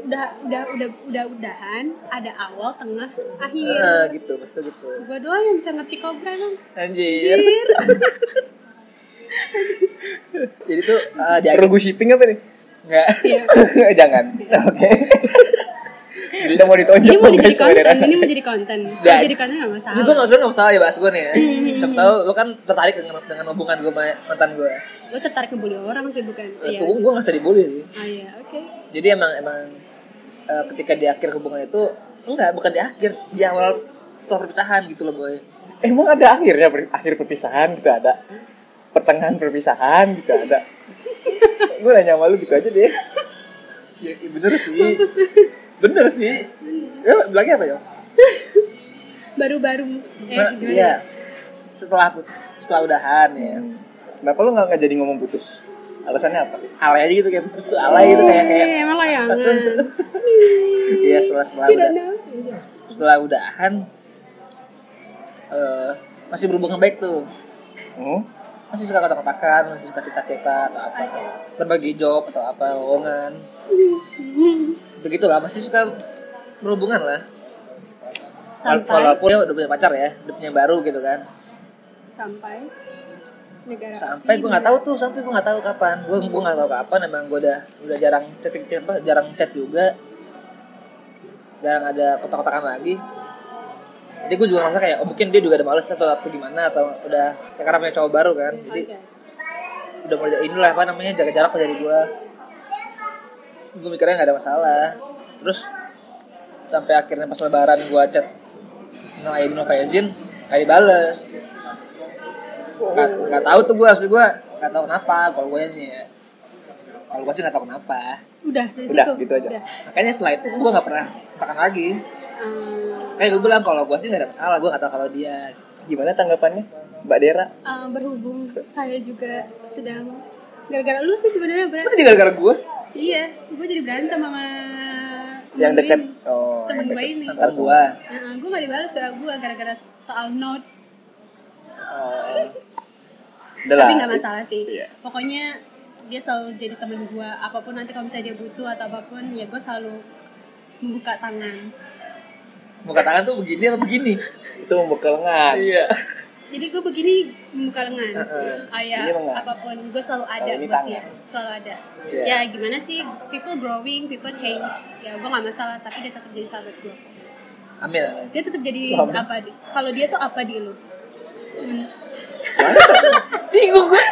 S3: udah udah udah udah udahan ada awal tengah akhir.
S1: Eh, gitu, pasti gitu.
S3: Gue doang yang bisa ngerti kobra dong. Iya.
S1: Anjir. Jadi tuh eh, di
S2: Perlu
S1: akhir
S2: gue shipping apa nih?
S1: enggak.
S3: Iya.
S2: Jangan. Oke. Udah mau ditonjok
S3: Ini mau
S2: dong,
S3: jadi
S2: guys, sama
S3: konten,
S2: Dera.
S3: ini mau jadi konten.
S1: Dan-
S3: Mau jadi konten nggak masalah.
S1: Ini gue nggak sebenarnya nggak masalah ya bahas gue nih ya. Siapa tahu lo kan tertarik dengan dengan hubungan gue sama mantan gue.
S3: Gue tertarik ngebully orang sih bukan.
S1: Eh,
S3: Iya.
S1: Gue gue nggak usah dibully sih.
S3: Oh iya, oke.
S1: Jadi emang emang eh, ketika di akhir hubungan itu enggak bukan di akhir di awal setelah perpisahan gitu loh boy.
S2: Emang ada akhirnya per- akhir perpisahan gitu ada. Pertengahan perpisahan gitu ada. gue nanya sama lu gitu aja deh.
S1: Ya, ya bener sih. bener sih. Ya, bilangnya apa ya?
S3: Baru-baru eh
S1: Nah,
S3: gimana?
S1: Iya. Setelah put- setelah udahan ya.
S2: Kenapa lu nggak nggak jadi ngomong putus? Alasannya apa?
S1: Alay aja gitu kayak terus tuh alay gitu kayak kayak
S3: Eh, emang layangan.
S1: Iya setelah setelah udah,
S3: Tidak know.
S1: setelah udahan eh masih berhubungan baik tuh.
S2: Hmm?
S1: masih suka kotak-kotakan, masih suka cita-cita atau apa, berbagi job atau apa, lowongan, begitu lah, masih suka berhubungan lah. Wal-
S3: Sampai
S1: Walaupun dia udah punya pacar ya, udah punya yang baru gitu kan.
S3: sampai negara
S1: Sampai gue nggak tahu tuh, sampai gue nggak tahu kapan. Gue gue nggak tahu kapan, emang gue udah udah jarang chatting chat apa, jarang chat juga, jarang ada kotak-kotakan lagi. Jadi gue juga ngerasa kayak, oh mungkin dia juga ada males atau atau gimana atau udah ya karena punya cowok baru kan, jadi
S3: Oke.
S1: udah mulai inilah apa namanya jaga jarak dari gua gue mikirnya nggak ada masalah terus sampai akhirnya pas lebaran gua chat no ID no Faizin nggak dibales nggak nggak tahu tuh gua maksud gua nggak tahu kenapa kalau gue ini ya kalau gua sih nggak tahu kenapa
S3: Udah dari
S2: Udah,
S3: situ.
S2: gitu aja.
S3: Udah.
S1: makanya setelah itu gua nggak pernah kontakan lagi
S3: Eh,
S1: kayak gue bilang kalau gua sih nggak ada masalah gua nggak tahu kalau dia
S2: Gimana tanggapannya? Mbak Dera?
S3: Eh, berhubung saya juga sedang gara-gara lu sih sebenarnya
S1: itu
S3: berantem
S1: jadi gara-gara gue
S3: iya gue jadi berantem sama temen
S2: Yang
S3: gue
S2: dekat.
S3: ini.
S2: Oh,
S3: temen
S2: yang
S3: gue
S2: dekat.
S3: ini
S1: mantan gua
S3: gue gak dibalas ya gue gara-gara soal note
S1: Eh,
S2: Udah lah.
S3: tapi nggak masalah sih
S2: Nah, Iya.
S3: pokoknya dia selalu jadi temen gue apapun nanti kalau misalnya dia butuh atau apapun ya gue selalu membuka tangan
S1: muka tangan tuh begini apa begini
S2: Itu membuka lengan.
S1: iya
S3: jadi gue begini membuka lengan
S1: Heeh.
S3: ayah
S2: Ini lengan.
S3: apapun gue selalu ada
S2: Kalau ini
S3: buat
S2: tangan.
S3: dia selalu ada
S1: Iya.
S3: ya gimana sih people growing people change ya gue nggak masalah tapi dia tetap jadi sahabat gue
S1: Amin, amin.
S3: dia tetap jadi
S2: Paham.
S3: apa di kalau dia tuh apa di lu Hmm,
S1: Bingung gue.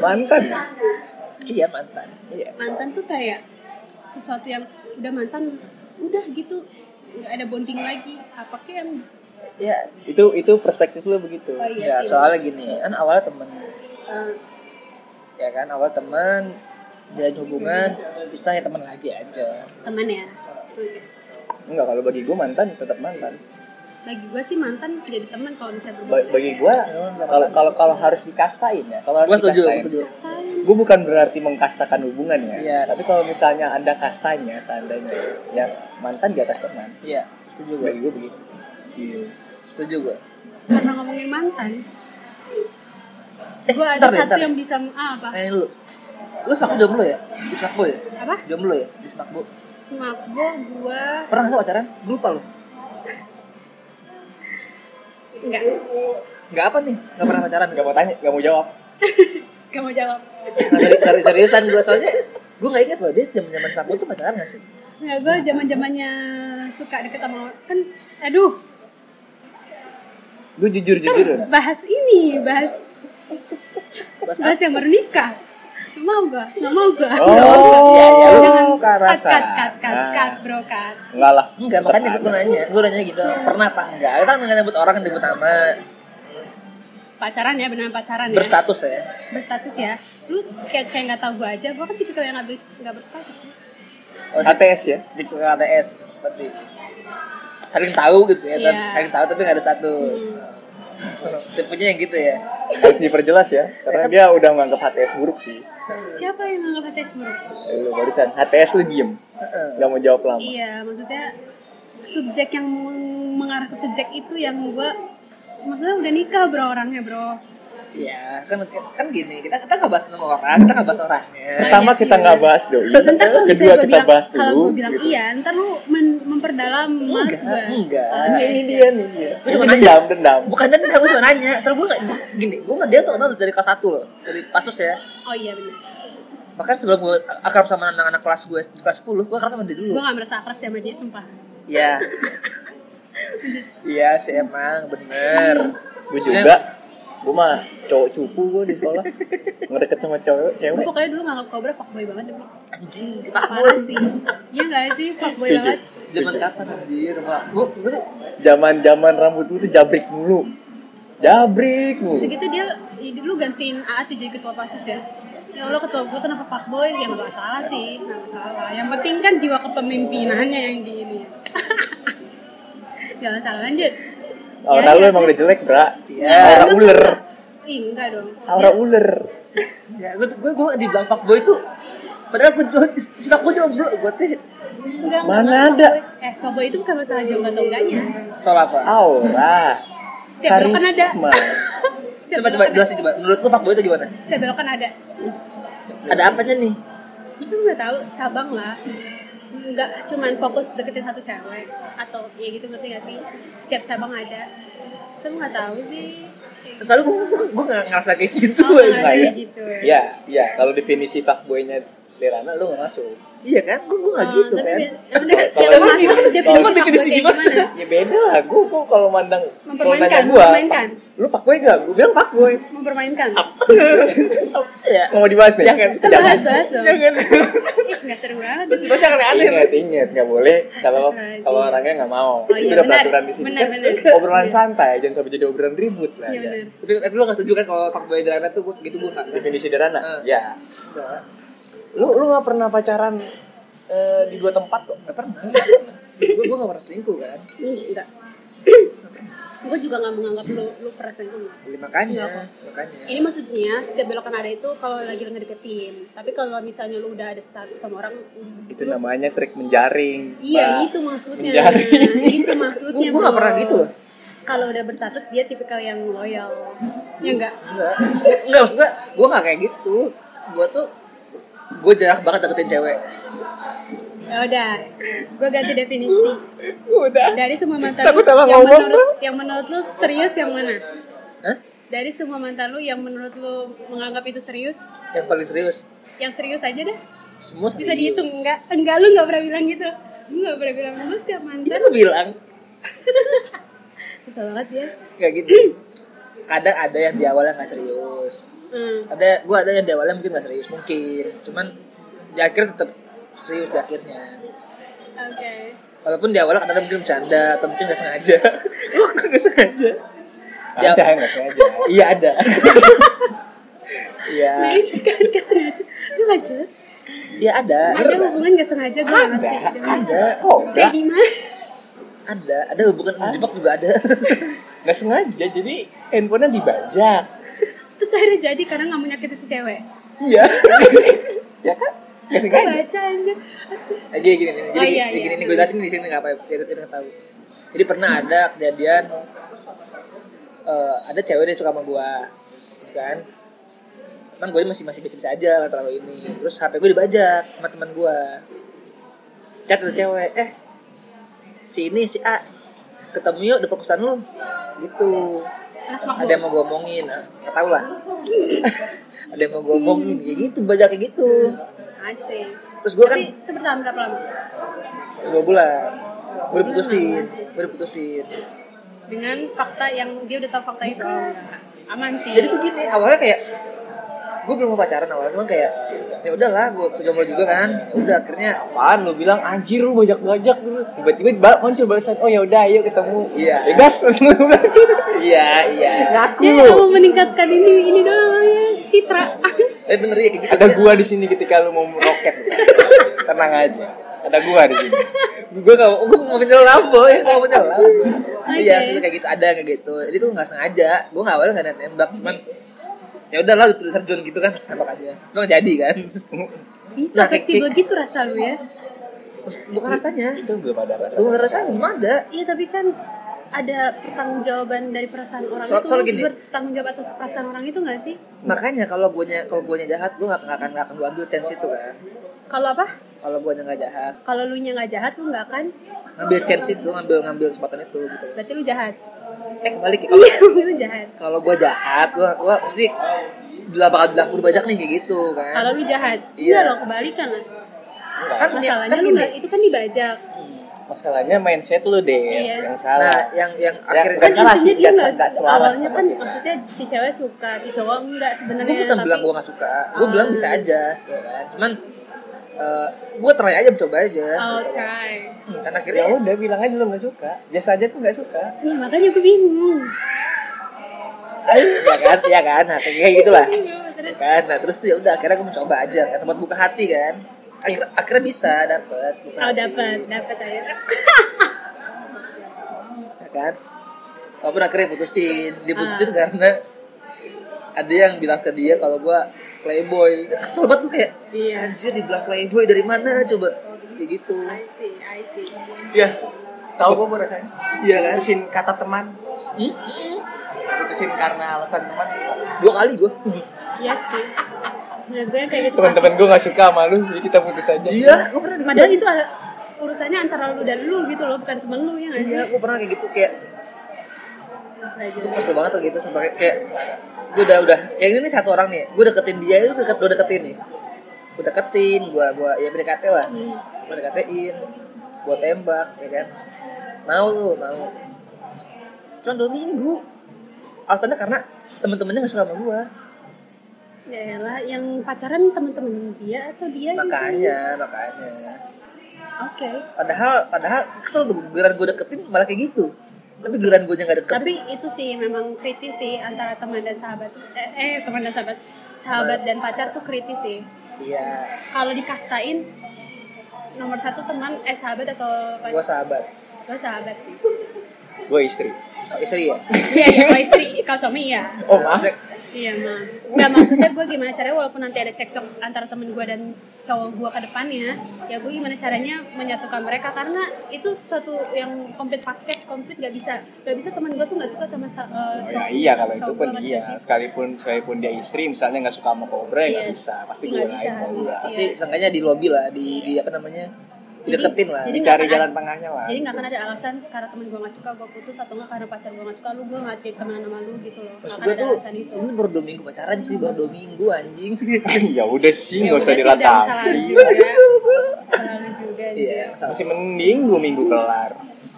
S2: Mantan.
S1: Iya mantan. Iya.
S3: mantan tuh kayak sesuatu yang udah mantan udah gitu nggak ada bonding lagi apa kayak yang
S1: ya
S2: Itu itu perspektif lu begitu.
S1: ya
S3: Oh iya sih.
S1: soalnya gini kan awalnya temen
S3: Eh,
S1: ya kan awal temen dia hubungan bisa ya teman lagi aja
S3: teman ya. Oke.
S2: Enggak, kalau bagi gue mantan tetap mantan.
S3: Bagi gue sih mantan jadi teman kalau misalnya
S2: Ba-
S3: berhubungan.
S2: Bagi gue kalau kalau kalau harus dikastain ya, kalau harus
S1: gue setuju gue
S2: dikastain.
S1: setuju
S3: Kastain.
S2: Gue bukan berarti mengkastakan hubungan ya.
S1: Iya.
S2: Tapi kalau misalnya ada kastanya seandainya ya mantan di atas teman.
S1: iya setuju gue
S2: Bagi gue begitu.
S1: Iya. setuju gue
S3: Karena ngomongin mantan,
S1: eh
S3: gue Eh, ada
S1: ntar deh Eh.
S3: satu
S1: ntar
S3: yang bisa ah, apa?
S1: nanya dulu gue semakbo jomblo ya di semakbo ya
S3: Apa?
S1: jomblo ya di semakbo
S3: Smakbo gue
S1: pernah nggak sih pacaran gue lupa loh
S3: enggak,
S1: nggak apa nih nggak pernah pacaran
S2: Gak mau tanya, gak mau jawab.
S3: gak mau jawab.
S1: Nah, seri- seri- seriusan gue soalnya gue nggak inget loh dia zaman zaman semakbo tuh pacaran nggak sih
S3: Enggak, gue zaman zamannya suka deket sama kan, aduh,
S2: Gue jujur jujur.
S3: bahas ini, bahas
S1: Bahas
S3: bahas yang baru nikah. Nggak mau gue, nggak mau gue.
S1: Iya,
S2: Oh,
S3: Jangan cut,
S2: karasa.
S3: cut, cut, cut,
S2: Nah.
S3: cut, bro, cut.
S2: Enggak lah.
S1: enggak
S2: tetap
S1: makanya gue
S2: ada.
S1: nanya gue nanya gitu pernah apa enggak kita kan nggak nyebut orang yang nyebut nama
S3: Pacaran ya, beneran pacaran ya.
S1: berstatus ya
S3: berstatus ya lu kayak kayak nggak tahu gue aja gue kan tipikal yang nggak bers- nggak berstatus ya
S1: Oh,
S2: ATS ya.
S1: di KTS seperti saling tahu gitu ya, tapi
S3: Iya.
S1: saling tahu tapi nggak ada status.
S3: Hmm.
S1: Tipenya yang gitu ya.
S2: Harus diperjelas ya, karena dia udah menganggap HTS buruk sih.
S3: siapa yang nganggap HTS buruk
S2: Eh, Lu barusan HTS lu diem,
S1: Heeh.
S2: gak mau jawab lama.
S3: iya maksudnya subjek yang meng- mengarah ke subjek itu yang gue maksudnya udah nikah bro orangnya bro
S1: Iya, kan kan gini, kita kita nggak bahas nama orang, kita nggak bahas orangnya.
S2: Pertama
S3: Iya sih.
S2: kita nggak bahas doi,
S3: ntar
S2: kedua
S3: kalau misalnya gue
S2: kita
S3: bilang
S2: bahas
S3: kalau
S2: dulu.
S3: gue bilang
S2: gitu.
S3: iya ntar lu men- memperdalam males gue
S1: enggak.
S3: Oh,
S2: Ini
S3: iya.
S2: dia nih dia.
S1: Lu cuma
S2: Ini
S1: nanya.
S2: dendam dendam.
S1: Bukan tadi gue kan cuma nanya, soalnya gue nggak gua- gini, gue sama dia tuh kenal dari kelas 1 loh, dari pasus ya.
S3: oh iya benar
S1: Bahkan sebelum gue akrab sama anak-anak kelas gue di kelas 10, gue akrab sama dia dulu.
S3: gue nggak merasa akrab sama dia sumpah
S1: Iya. Iya sih emang bener.
S2: Gue juga, gue mah cowok cupu gue di sekolah. Ngedeket sama cowok
S3: gue
S2: cewek.
S3: pokoknya dulu nganggap kobra fuckboy banget demi
S1: Anjing, kita
S3: parah sih iya nggak sih fuckboy
S2: Setuju.
S3: banget
S1: Zaman kapan anjir, Pak? Gue gue tuh
S2: Zaman zaman rambut lu tuh jabrik mulu, jabrik mulu.
S3: Segitu dia ya, dulu gantiin Aas jadi ketua pasus ya. Ya Allah ketua gue kenapa fuckboy? Ya nggak masalah sih, nggak masalah. Yang penting kan jiwa kepemimpinannya yang di ini. gak masalah lanjut.
S2: Oh,
S3: Ya,
S2: nah lu
S3: ya.
S2: emang udah jelek, Bra.
S1: Iya.
S2: Aura Eh, ular.
S3: Ih enggak dong.
S2: Aura ular.
S1: Ya, gue gue gue di belakang gue itu padahal gue jual sifat gue jomblo gue teh
S3: Enggak, enggak,
S2: Mana
S3: enggak,
S2: ada?
S3: fuckboy. Eh fuckboy itu bukan masalah jomblo atau enggaknya.
S1: soal apa?
S2: Aura.
S3: Setiap belokan ada.
S2: Karisma.
S3: Setiap
S1: Coba coba
S3: belokan-
S1: jelasin coba. Menurut lu fuckboy itu gimana?
S3: Setiap belokan ada.
S1: Ada apanya nih?
S3: Itu nggak tahu cabang lah. Enggak cuman fokus deketin satu cewek atau ya gitu ngerti gak sih? Setiap cabang ada. Saya nggak tahu sih.
S1: Selalu gue gue gue nggak ngerasa kayak gitu.
S3: Oh,
S1: anjing.
S3: ngerasa
S2: iya.
S3: kayak gitu.
S2: Ya, ya. Kalau definisi fuckboy-nya Derana lu gak masuk.
S1: Iya kan? Gue gue nggak
S3: Oh,
S1: gitu
S3: tapi
S1: kan? gitu,
S3: dia-
S1: Maksudnya
S2: Kalau-
S1: emang
S2: kalau-
S1: gimana?
S2: definisi
S1: Emang definisi
S3: fuckboy kayak
S1: gimana?
S3: gimana?
S2: Ya beda lah, gue kok kalau mandang kalau
S3: Mempermainkan,
S2: nanya gue,
S3: mempermainkan.
S2: lu fuckboy gak? Gue bilang fuckboy.
S3: mempermainkan.
S1: Ya.
S2: Mau dibahas kan? nih?
S1: Jangan.
S3: Kita bahas bahas dong.
S1: Jangan.
S3: Ih, nggak seru banget. Iya,
S1: Terus pasti akan kan? aneh. kan?
S2: Ingat, ingat, nggak boleh kalau
S3: Astagfirullahaladzim.
S2: kalau orangnya nggak mau. Itu
S3: Oh, iya,
S2: udah
S3: benar.
S2: peraturan di sini.
S3: Benar,
S2: Kan
S3: benar.
S2: Obrolan
S3: Iya.
S2: santai, jangan sampai jadi obrolan ribut lah.
S3: Iya
S2: ya.
S3: benar.
S1: Tapi tapi lu nggak setuju kan kalau fuckboy Derana tuh gue gitu gue nggak.
S2: Definisi sederhana.
S1: Eh.
S2: Ya,
S1: Nggak.
S2: lu lu nggak pernah pacaran eh, di dua tempat kok?
S1: Nggak pernah. nggak pernah. Gue gue nggak pernah selingkuh kan?
S3: Enggak. Gue juga nggak menganggap lu lu perasaan gue. nggak.
S1: Ya, Makanya makanya.
S3: Ini maksudnya setiap belokan ada itu kalau lagi ngedeketin. Tapi kalau misalnya lu udah ada status sama orang,
S2: Itu namanya trik menjaring. Mbak.
S3: Iya, itu maksudnya.
S2: Menjadi.
S3: Itu maksudnya.
S1: Gue gue nggak
S3: Bro.
S1: pernah gitu loh.
S3: Kalau udah berstatus dia tipikal yang loyal. Ya enggak?
S1: Enggak, maksud- enggak maksudnya gue gak kayak gitu Gue tuh, gue jarang banget deketin cewek
S3: Ya udah, gue ganti definisi.
S2: Udah.
S3: Dari semua mantan
S2: Takut
S3: lu,
S2: salah
S3: yang
S2: ngomong,
S3: menurut, yang menurut lu serius yang mana?
S1: Hah?
S3: Dari semua mantan lu yang menurut lu menganggap itu serius,
S1: Yang paling serius
S3: yang serius aja deh.
S1: Semua serius
S3: Bisa dihitung enggak? Enggak lu enggak pernah bilang gitu. Lu enggak pernah bilang lu setiap
S1: Jadi
S3: mantan.
S1: gue bilang,
S3: Kesel banget ya.
S1: kayak gini Kadang ada yang di awalnya gak serius
S3: Hmm.
S1: ada Gue ada yang di awalnya mungkin gak serius, mungkin Cuman di akhir tetap serius di akhirnya
S3: Oke.
S1: walaupun di awalnya kadang mungkin bercanda atau mungkin nggak sengaja wah kok nggak sengaja Ya.
S2: Ada nggak sengaja.
S1: iya ada iya
S3: Nah itu kan gak sengaja Itu gak jelas
S1: iya ada
S3: Ada hubungan gak sengaja gue gak ngerti
S2: Ada,
S1: ada Kan.
S2: Kok
S3: Kayak
S2: nggak?
S3: gimana?
S1: ada ada hubungan jebak juga ada
S2: Nggak sengaja, jadi handphonenya dibajak.
S3: Terus akhirnya jadi karena gak mau nyakitin si cewek
S2: Iya. ya kan?
S1: Iya,
S2: Nggak sengaja.
S3: Baca aja
S1: Eh, gini gini gini. jadi
S3: Oh, iya,
S1: gini,
S3: iya.
S1: gini gue jelasin di sini nggak apa-apa biar kita tahu jadi pernah ada kejadian eh, ada cewek dia suka sama gue kan cuman gue masih masih bisa bisa aja lah terlalu ini terus hp gue dibajak sama teman gue chat tuh cewek eh si ini si A ketemu yuk di perkusan lu gitu
S3: Anak
S1: ada yang mau gue omongin ah, nggak tahu lah ada yang mau gue omongin ya gitu bajak kayak gitu
S3: Asik
S1: terus gue kan
S3: Tapi itu bertahan berapa lama?
S1: dua bulan gue udah putusin
S3: Bulan lama
S1: gue udah putusin
S3: Dengan fakta yang dia udah tahu fakta itu Aman sih
S1: jadi tuh gini awalnya kayak gue belum mau pacaran awalnya cuman kayak ya udahlah gue tuh jomblo juga kan ya udah akhirnya
S2: Apaan lu bilang anjir lu bajak-bajak dulu. Tiba-tiba bal- muncul balasan, "Oh ya udah ayo ketemu."
S1: Iya.
S2: Ya gas.
S1: iya iya
S2: Ngaku
S3: Dia
S2: lu.
S3: nggak mau meningkatkan ini ini doang ya Citra
S1: eh bener ya kayak gitu
S2: Ada gua di sini ketika lu mau meroket. Tenang aja. Ada gua di sini.
S1: gue gak gue mau menyelam boy gue mau menyelam boy.
S3: Oke.
S1: iya sebenernya kayak gitu ada kayak gitu jadi tuh nggak sengaja gue nggak awalnya nggak ada tembak cuman ya udahlah udah terjun gitu kan tembak aja cuma jadi kan
S3: Bisa
S1: Nah, kayak-
S3: fleksibel gitu rasa lu ya
S1: Terus bukan rasanya
S2: Itu belum ada rasa.
S1: bukan rasanya belum ada
S3: Iya tapi kan ada pertanggungjawaban dari perasaan orang
S1: Soal-
S3: itu
S1: soal gini.
S3: bertanggung jawab atas perasaan orang itu nggak sih?
S1: makanya kalau gue kalau gue jahat gue nggak nggak akan nggak akan gue ambil chance itu kan
S3: Kalau apa?
S1: kalau gue nggak jahat
S3: Kalau lu nya nggak jahat lu nggak akan
S1: ngambil chance itu ngambil ngambil kesempatan itu gitu
S3: berarti lu jahat.
S1: eh kembali ya kalau
S3: lu jahat.
S1: kalau gue jahat gue gue pasti bila bakal bilang udah bajak nih kayak gitu kan
S3: Kalau lu jahat,
S1: Iya.
S3: iya lo kebalikan lah.
S1: kan ya,
S3: Masalahnya
S1: kan
S3: lu
S1: gini
S3: nggak itu kan dibajak.
S2: Masalahnya mindset lu deh
S3: Iya.
S1: nah
S2: yang salah.
S1: yang yang
S2: Ya,
S1: akhirnya
S2: Nggak
S3: Kan
S1: kan
S2: salah
S3: intinya
S2: sih,
S3: dia
S2: nggak-
S3: nggak-
S2: nggak selaras
S3: Awalnya
S2: sama
S3: kan
S2: dia.
S3: maksudnya si cewek suka, si cowok enggak sebenarnya.
S1: gue bukan
S3: ya, tapi- Ah.
S1: bilang gue nggak suka gue bilang bisa aja ya kan cuman gue try aja coba aja
S3: Oh, try.
S1: Hmm, kan
S2: Ya
S1: akhirnya
S2: udah bilang aja lu nggak suka. Biasa aja tuh nggak suka.
S3: Nih, makanya gue bingung.
S1: ya kan ya kan nah, kayak gitulah
S3: Terus
S1: kan nah terus tuh ya udah akhirnya gue mencoba aja kan buat buka hati kan akhirnya, akhirnya bisa dapet buka
S3: Oh
S1: hati.
S3: dapat, dapat aja.
S1: ya kan walaupun akhirnya putusin diputusin
S3: Ah.
S1: karena ada yang bilang ke dia kalau gue playboy Ya, kesel banget gue kayak
S3: Iya.
S1: anjir dibilang playboy dari mana coba kayak gitu
S3: I see, I see.
S2: Iya. Tahu gua gua rasanya.
S1: iya kan
S2: Putusin kata teman.
S1: Hmm?
S2: Putusin karena alasan teman.
S1: dua kali gue
S3: Iya sih. Menurut gue kayak gitu.
S2: Teman-teman gue nggak suka sama lu, jadi kita putus aja.
S1: iya gue pernah
S3: Padahal
S1: gitu.
S3: itu ada urusannya antara lu dan lu gitu loh, bukan temen lu ya nggak sih?
S1: iya gue pernah kayak gitu kayak
S3: Nggak
S1: itu
S3: jelas.
S1: kesel banget tuh gitu sampai kayak gue udah udah yang ini nih satu orang nih gue deketin dia itu deket gue deketin nih gue deketin gue gue ya PDKT lah
S3: Hmm.
S1: gue dikatain gue tembak ya kan mau lu mau cuma dua minggu alasannya karena temen-temennya nggak suka sama gue
S3: Ya elah, yang pacaran temen-temen dia atau dia? gitu?
S1: makanya makanya
S3: Oke.
S1: padahal padahal kesel gue giliran gue deketin malah kayak gitu tapi giliran gue nggak deket
S3: Tapi itu sih memang kritis sih antara teman dan sahabat. Eh, eh teman dan sahabat, sahabat dan pacar tuh kritis sih.
S1: iya
S3: Kalau dikastain nomor satu teman eh sahabat atau
S1: gue
S3: pacar?
S1: sahabat
S3: Gue sahabat sih.
S2: Gue istri.
S1: oh, istri ya
S3: Iya, iya, kalau istri, kalau suami iya.
S2: Oh maaf.
S3: Iya mah. Nggak maksudnya gue gimana caranya walaupun nanti ada cekcok antara temen gue dan cowok gue ke depannya, ya gue gimana caranya menyatukan mereka karena itu suatu yang komplit paket, komplit gak bisa, gak bisa temen gue tuh gak suka sama sa- eh,
S2: Oh, ya
S3: cowok-
S2: iya kalau itu
S3: cowok
S2: pun
S3: gua sama
S2: iya.
S3: cewek.
S2: Sekalipun sekalipun dia istri, misalnya nggak suka sama kobra ya nggak
S3: Yes.
S2: bisa. Pasti gue
S3: Nggak
S2: lain iya.
S3: bisa,
S2: kalau
S3: harus.
S2: gua.
S1: pasti seenggaknya di lobby lah di, di apa namanya dideketin lah
S3: Iya. Jadi nggak
S2: Dicari
S3: akan-
S2: jalan tengahnya lah.
S3: Jadi gak akan ada alasan karena temen gue gak suka gue putus atau gak karena pacar gue gak suka lu gue gak jadi temenan sama lu gitu loh. Gak
S1: Maksud
S3: akan
S1: gue
S3: ada
S1: tuh,
S3: alasan itu.
S1: ini baru dua minggu pacaran cuy, baru dua minggu anjing
S2: ya udah sih
S3: Ya
S2: nggak usah
S3: udah sih, udah
S2: dilatapi.
S3: Masalah lu juga. Masalah lu juga.
S1: Iya,
S3: gitu.
S1: sama
S2: Masih mending dua minggu kelar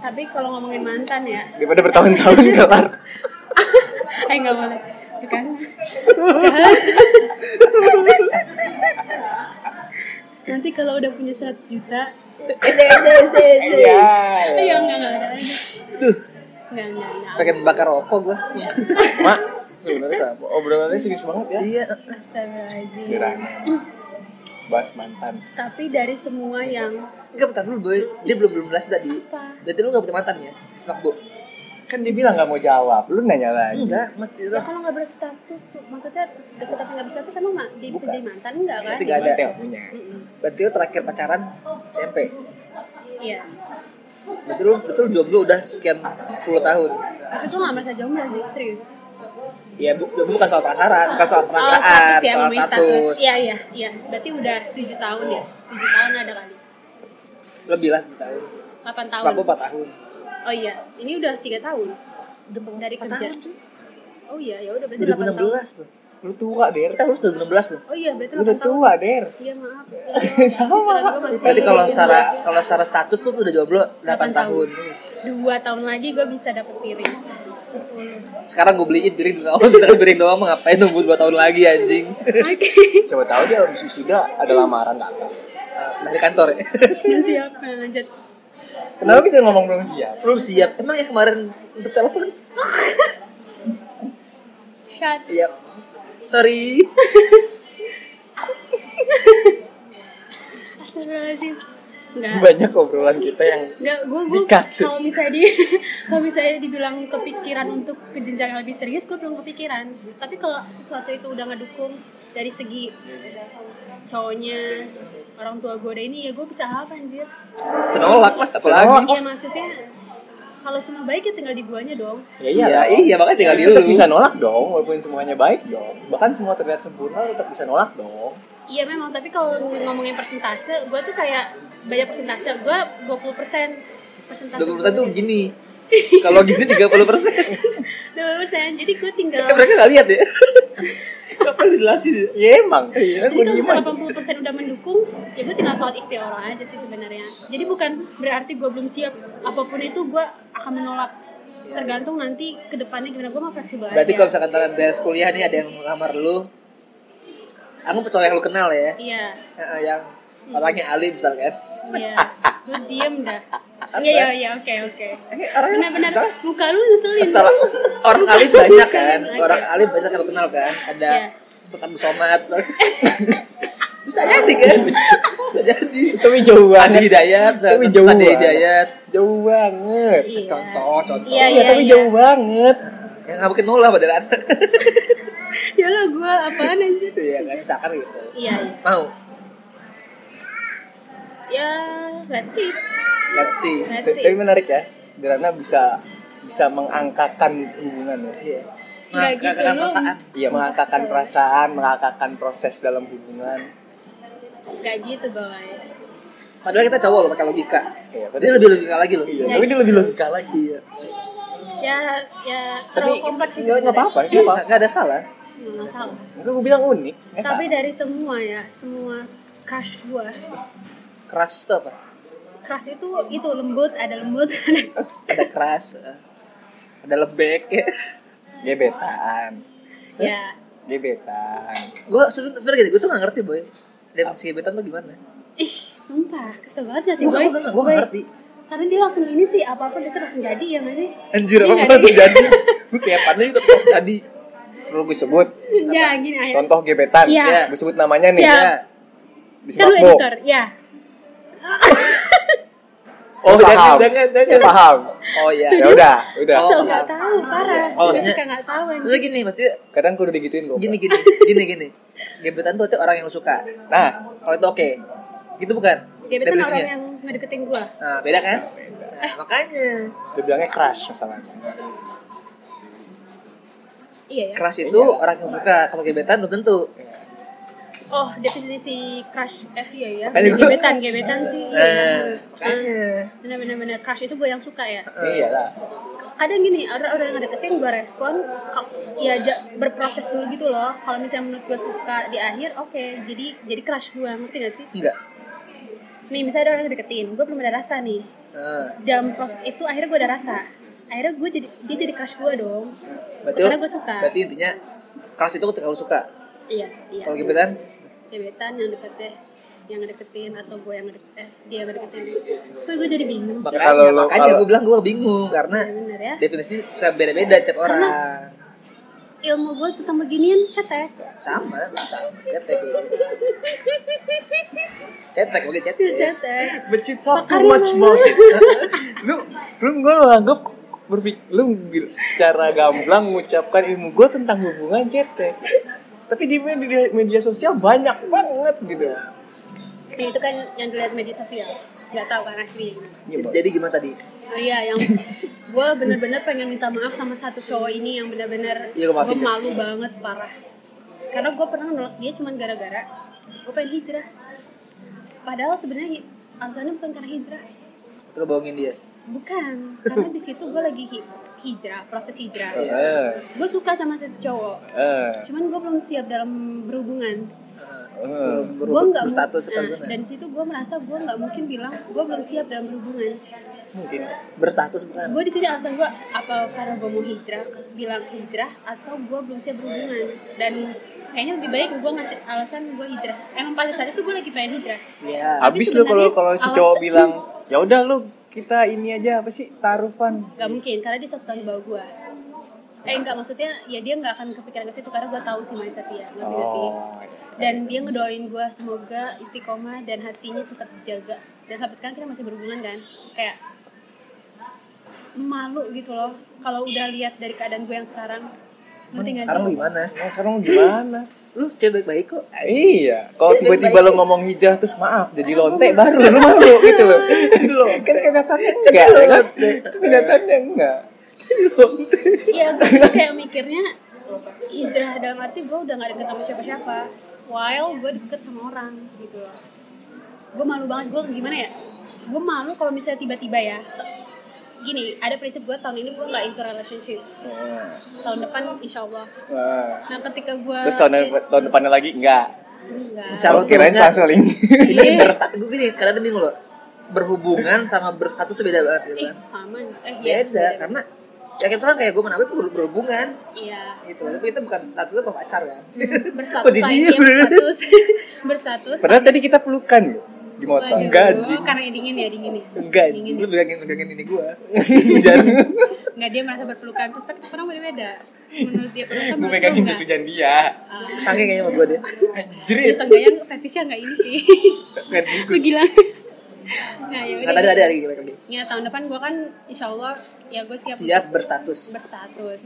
S3: Tapi kalau ngomongin mantan ya,
S2: daripada bertahun-tahun kelar.
S3: eh nggak boleh Tuh kan nanti kalau udah punya 100 juta
S2: Iya.
S3: ya enggak enggak enggak enggak enggak enggak
S1: Pengen bakar rokok gua.
S2: Mak, sebenarnya sama. Obrolannya serius banget ya.
S1: Iya.
S3: Astagfirullahaladzim
S2: Dirana. Bahas Iya. mantan.
S3: tapi dari semua yang
S1: Enggak bentar dulu boy. Dia belum belum jelas tadi.
S3: apa
S1: Berarti lu gak punya mantan ya? Semak bu.
S2: Kan dia bilang nggak mau jawab. Lu nanya lagi.
S1: Enggak, mesti
S3: ya
S1: lah.
S3: kalau nggak berstatus maksudnya deket tapi nggak berstatus emang mak dia bisa
S1: Bukan.
S3: jadi mantan enggak kan
S1: Nggak ada.
S2: Mantel punya.
S3: Mm-mm.
S1: Berarti lu terakhir pacaran SMP.
S3: iya
S1: Berarti lu betul jomblo udah sekian puluh tahun.
S3: tapi gue nggak merasa jomblo sih serius
S1: Ya bu, jomblo bukan soal pacaran, bukan soal
S3: Oh,
S1: perasaan,
S3: ya,
S1: soal
S3: memilih
S1: status.
S3: Iya, iya, iya. Berarti udah 7 tahun ya? 7 tahun ada kali.
S1: Lebih lah tujuh tahun.
S3: 8 tahun.
S1: Semak bu empat tahun.
S3: Oh iya, ini udah 3 tahun. Dari
S1: Empat
S3: kerja.
S1: tahun, cuy.
S3: Oh iya, ya udah berarti 8 tahun.
S1: 2016 tuh.
S2: Lu tua, Der.
S1: Kita lulus 2016 tuh.
S3: Oh iya, berarti
S2: Lu udah
S3: 8 tahun.
S2: tua, Der.
S3: Iya, maaf.
S2: Sama.
S3: Pikiran gua masih-
S1: Berarti kalau secara kalau secara status tuh udah jomblo 8
S3: Iya, Delapan
S1: tahun.
S3: tahun. dua tahun lagi gue bisa dapet piring. Sepuluh.
S1: Sekarang gue beliin piring juga kalau misalnya piring doang mah ngapain nunggu 2 tahun lagi anjing.
S3: Oke.
S2: Coba tahu dia habis wisuda ada lamaran nggak?
S1: Eh, Dari kantor ya.
S3: Belum siap nah, lanjut.
S2: Kenapa bisa ngomong belum siap?
S1: Belum siap. Emang yang kemarin untuk telepon?
S3: Shut.
S1: Iya. Sorry.
S3: Astagfirullahaladzim. Enggak.
S2: Banyak obrolan kita yang
S3: Enggak, gue gue
S2: Dikat.
S3: kalau misalnya di kalau misalnya dibilang kepikiran untuk ke jenjang yang lebih serius gue belum kepikiran. Tapi kalau sesuatu itu udah ngedukung dari segi cowoknya orang tua gue udah ini ya gue bisa apa anjir.
S1: Senolak lah apalagi.
S2: Senolak.
S3: Iya maksudnya kalau semua baik ya tinggal di guanya dong.
S2: ya
S1: Iya, iya makanya tinggal di lu.
S2: Tetap bisa nolak dong, walaupun semuanya baik dong. Bahkan semua terlihat sempurna tetap bisa nolak dong.
S3: Iya memang, tapi kalau ngomongin persentase, gue tuh kayak banyak persentase. Gue 20 persen. Persentase
S1: 20% tuh gini. Kalau gini 30%.
S3: 20 persen. Jadi gue tinggal.
S1: Eh, mereka gak lihat ya. Apa dijelasin ya?
S2: Ya emang. Iya, gue
S3: Jadi kalau
S2: diem
S3: misalnya
S2: aja.
S3: 80 persen udah mendukung, ya gue tinggal sholat istiqoroh aja sih sebenarnya. Jadi bukan berarti gue belum siap. Apapun itu gue akan menolak.
S1: Iya,
S3: Tergantung nanti kedepannya gimana gue mau fleksibel
S1: Berarti
S3: aja.
S1: kalau misalkan kalian beres kuliah nih ada yang ngelamar lu. Aku pecolok yang lu kenal ya.
S3: Iya,
S1: Eh, Yang orangnya alim misalkan.
S3: iya. Gue diem dah. Iya, iya, iya, oke, oke.
S1: Eh, orangnya
S3: Benar-benar
S1: misalkan
S3: muka lu ngeselin.
S1: setelah orang alim banyak kan
S3: Bukan.
S1: orang alim banyak yang kenal kan ada
S3: Iya.
S1: Sultan Busomat bisa jadi kan bisa jadi
S2: Tapi jauh
S1: Andi
S2: banget.
S1: Hidayat
S2: Tapi
S1: Sultan
S2: jauh
S1: Andi
S2: banget.
S1: Hidayat
S2: Jauh banget.
S3: Iya.
S1: contoh contoh
S3: Iya,
S2: Iya,
S3: iya,
S2: tapi
S3: iya.
S2: jauh banget.
S1: yang nggak mungkin nolak pada anak
S3: Ya lah gue apaan anjir.
S1: gitu ya kan misalkan gitu
S3: Iya, iya.
S1: mau
S3: Ya, let's see.
S1: let's see
S3: Let's
S2: Tapi
S3: see.
S2: menarik ya. Dirana bisa bisa mengangkakan hubungan ya.
S1: Iya.
S3: Nggak
S1: Nah,
S3: gitu,
S1: kakak
S3: lu-
S1: perasaan
S2: Iya, mengangkakan perasaan, mengangkakan proses dalam hubungan.
S3: Gaji itu bawahnya.
S1: padahal kita cowok loh pakai logika dia
S2: Iya, padahal
S1: lebih logika lagi loh
S2: Iya, tapi dia lebih logika lagi.
S1: iya
S3: Ya, ya terlalu
S2: Tapi
S3: kompleks sih
S2: nggak-
S3: sebenarnya.
S2: nggak apa-apa, nggak apa-apa.
S1: nggak nggak ada salah
S3: Nggak salah.
S2: Enggak gue bilang
S1: Eh,
S2: unik. nggak
S3: Tapi
S2: salah.
S3: dari semua ya, semua crush gua.
S1: keras itu apa
S3: Crush itu itu lembut, ada lembut, ada
S1: ada keras eh, ada lebek ya
S2: gebetan.
S3: ya
S2: Gebetan.
S1: gue sebenernya gini gue tuh gak ngerti boy definisi gebetan tuh gimana
S3: ih sumpah kesel banget gak sih
S1: gue
S3: boy?
S1: gak gue
S3: Boy,
S1: gak ngerti
S3: karena dia langsung ini sih apa apa dia tuh langsung jadi ya nggak sih
S1: anjir
S3: Iya,
S1: apa
S3: nggak
S1: langsung
S3: sih?
S1: jadi gue kayak pandai itu pas jadi
S2: Perlu gue sebut
S3: ya gini aja
S2: contoh gebetan.
S3: Iya.
S2: Ya, Gue sebut namanya nih.
S3: Iya.
S2: ya. Di
S3: kan lu
S2: Smakbo.
S3: editor ya
S2: Oh,
S1: Oh, jangan,
S2: paham.
S1: jangan, jangan.
S2: Dia paham.
S1: oh iya
S2: Ya udah, udah.
S1: Oh,
S3: so
S1: nggak.
S3: nggak tahu parah
S1: Oh,
S3: Dia
S1: maksudnya-
S3: suka nggak tahu anjir.
S1: maksudnya gini maksudnya
S2: Kadang kudu digituin gue.
S1: gini gini gini gini gebetan tuh artinya orang yang lu suka
S2: Nah,
S1: kalau itu oke gitu bukan
S3: gebetan Ya, orang yang ngedeketin gua
S1: nah beda kan nah, makanya
S2: dia bilangnya crush masalahnya.
S3: iya ya
S1: keras itu orang yang suka kalau gebetan belum tentu
S3: oh definisi crush eh iya ya
S1: Makanya gua-
S3: gebetan gebetan sih iya ya.
S1: nah makanya
S3: bener bener bener crush itu gue yang suka ya
S2: Iya lah.
S3: kadang gini orang-orang yang deketin gue respon ka- ya ja- berproses dulu gitu loh kalau misalnya menurut gue suka di akhir oke jadi jadi crush gue ngerti gak sih
S1: enggak
S3: nih misalnya ada orang yang deketin gue belum ada rasa nih
S1: nah,
S3: dalam proses itu akhirnya gue ada rasa akhirnya gue jadi dia jadi crush gue dong
S1: berarti
S3: karena gue suka
S1: berarti intinya keras itu ketika lu suka
S3: iya iya
S1: kalau gebetan
S3: gebetan yang deket deh yang ngedeketin atau gue yang ngedeketin eh, dia yang ngedeketin kok gue jadi bingung
S1: Makanya,
S2: Ya, kalau lo-
S1: makanya
S2: kalau-
S1: gue bilang gue bingung karena
S3: ya bener ya
S1: definisi suka beda-beda tiap orang.
S3: ilmu gue tentang beginian cetek
S1: Sama, sama. Cetek gue. Cetek gue cetek.
S3: cetek
S2: But you talk too
S3: Pakarnya
S2: much about
S3: mana?
S2: it. lu lu gue nganggep berpik lu bil- secara gamblang mengucapkan ilmu gue tentang hubungan cetek. Tapi di media, media sosial banyak banget gitu.
S3: Ya, itu kan yang dilihat media sosial nggak tahu kan aslinya gimana
S1: Jadi, jadi gimana tadi?
S3: Oh iya, yang gue bener-bener pengen minta maaf sama satu cowok ini yang bener-bener
S1: Iya, gua maafin
S3: gue malu banget parah. Karena gue pernah nolak dia cuman gara-gara gue pengen hijrah. Padahal sebenarnya alasannya bukan karena hijrah,
S1: Terus bohongin dia.
S3: bukan. Karena di situ gue lagi hi- hijrah, proses hijrah.
S1: Iya.
S2: Eh,
S3: Gue suka sama satu cowok,
S2: eh,
S3: cuman gue belum siap dalam berhubungan.
S2: eh.
S1: Ber-
S3: Gue nggak mu-
S1: berstatus apa
S3: nah,
S1: gimana?
S3: dan di situ gue merasa gue nggak mungkin bilang gue belum siap dalam berhubungan.
S1: Mungkin berstatus bukan.
S3: gue di sini alasan gue apa karena gue mau hijrah bilang hijrah atau gue belum siap berhubungan dan kayaknya lebih baik gue ngasih alasan gue hijrah emang pada saat itu gue lagi pengen hijrah
S1: Iya.
S2: Abis lu kalau kalau si
S3: Sebenarnya
S2: cowok
S3: alasan-
S2: bilang ya udah lu kita ini aja apa sih tarufan
S3: gak mungkin karena dia satu kali bawa gue eh enggak maksudnya ya dia nggak akan kepikiran ke situ karena gue tahu si mindset dia ngerti nggak Iya
S2: Oh.
S3: sih
S2: iya.
S3: dan dia ngedoain gue semoga istiqomah dan hatinya tetap dijaga dan sampai sekarang kita masih berhubungan kan kayak malu gitu loh kalau udah lihat dari keadaan gue yang sekarang ngerti nggak
S1: Sekarang
S3: sih?
S1: lu gimana?
S2: Nah, sekarang gimana?
S1: Lu cewek baik kok.
S2: Iya, kalau
S1: Sih,
S2: tiba-tiba lo
S1: baik-baik.
S2: ngomong hijrah terus maaf jadi lontek baru lu malu gitu loh.
S1: loh.
S2: kan kenyataannya enggak ya kan? Kenyataannya enggak.
S3: Iya, gue kayak mikirnya hijrah dalam arti gue udah gak deket sama siapa-siapa While gue deket sama orang gitu loh Gue malu banget, gue gimana ya Gue malu kalau misalnya tiba-tiba ya Gini, ada prinsip gue tahun ini gue gak into relationship
S2: Nah,
S3: Tahun depan insya Allah
S2: nah.
S3: Nah ketika gue
S2: Terus tahun tahun depannya lagi enggak.
S3: Ah.
S1: Insya Allah
S2: Oh, kirain
S1: terusnya-
S2: langsung link.
S1: Ini
S3: Iya.
S1: berstatus gue gini, kadang bingung loh. Berhubungan sama berstatus tuh beda banget gitu
S3: Eh,
S1: kan.
S3: sama eh, iya,
S1: Beda karena ya kayak misalkan kayak gue menabek berhubungan
S3: Iya
S1: gitu tapi itu bukan status itu pacar kan
S3: Hmm. Berstatus
S1: jijik
S3: lagi,
S1: ya, bener?
S3: berstatus Berstatus
S2: Padahal tadi kita pelukan loh di motor.
S3: Waduh,
S2: Enggak, anjing.
S3: Karena dingin ya, dingin ya
S1: enggak
S3: Dingin
S1: lu pegangin pegangin ini gue hujan
S3: Nggak, dia merasa berpelukan. Perspektif orang beda-beda. Menurut dia
S2: Gue
S3: pelukan, menurut lu
S2: pegangin
S3: nggak.
S2: dus hujan dia.
S3: Ah,
S1: sange kayaknya sama gue deh
S3: Ya,
S2: Anjrit.
S3: seenggaknya fetishnya nggak ini sih.
S2: Kan
S3: Gue gila. Nah, ya
S1: nggak
S3: udah.
S1: ada ada lagi mereka nih.
S3: Ya, tahun depan gue kan insya Allah ya gue siap,
S1: siap berstatus
S3: berstatus.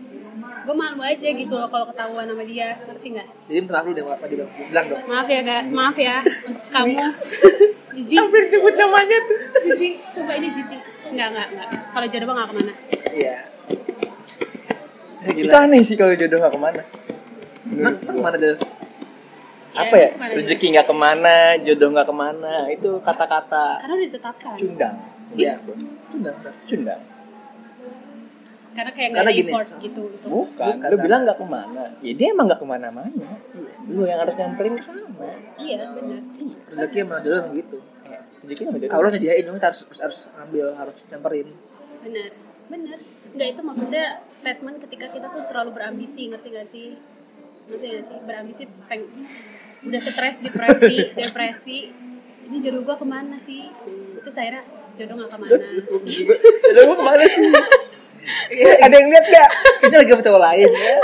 S3: Gue malu aja gitu loh kalau ketahuan sama dia. Ngerti nggak?
S1: jadi minta maaf lu deh apa juga bilang dong
S3: Maaf ya, gak. Maaf ya. Kamu. Jiji. Hampir sebut namanya tuh. Jiji. Coba ini Jiji. Enggak, enggak, enggak. Kalau jodoh mah nggak kemana.
S1: iya
S2: Itu
S1: gila
S2: aneh sih kalau jodoh gak kemana.
S1: emang emang kemana tuh
S2: Apa ya?
S3: kemana aja.
S2: Rezeki gak kemana, jodoh gak kemana. Itu kata-kata
S3: Karena udah ditetapkan.
S2: cundang.
S1: iya sudah
S2: Cundang.
S3: Karena kayak nggak
S1: Karena
S3: ada
S1: gini.
S3: effort gitu. untuk-
S2: Bukan,
S1: Bukan,
S2: lu
S1: kan?
S2: bilang gak kemana. Ya dia emang gak kemana-mana.
S1: iya
S2: Lu yang harus nyamperin ke sana. Eh,
S3: Iya, benar.
S1: rezeki emang dulu emang gitu
S2: Ya, Rezeki sama jodoh.
S1: Allah nyediain cuma kita harus harus- harus ambil harus nyamperin
S3: Benar, benar. Enggak itu maksudnya statement ketika kita tuh terlalu berambisi, ngerti gak sih? Ngerti gak sih? Berambisi peng udah stres, depresi, depresi. Ini jodoh gua kemana sih? Terus akhirnya jodoh gak kemana.
S2: Jodoh gua kemana sih? Ada yang lihat gak?
S1: Iya. kita lagi sama cowok lain ya.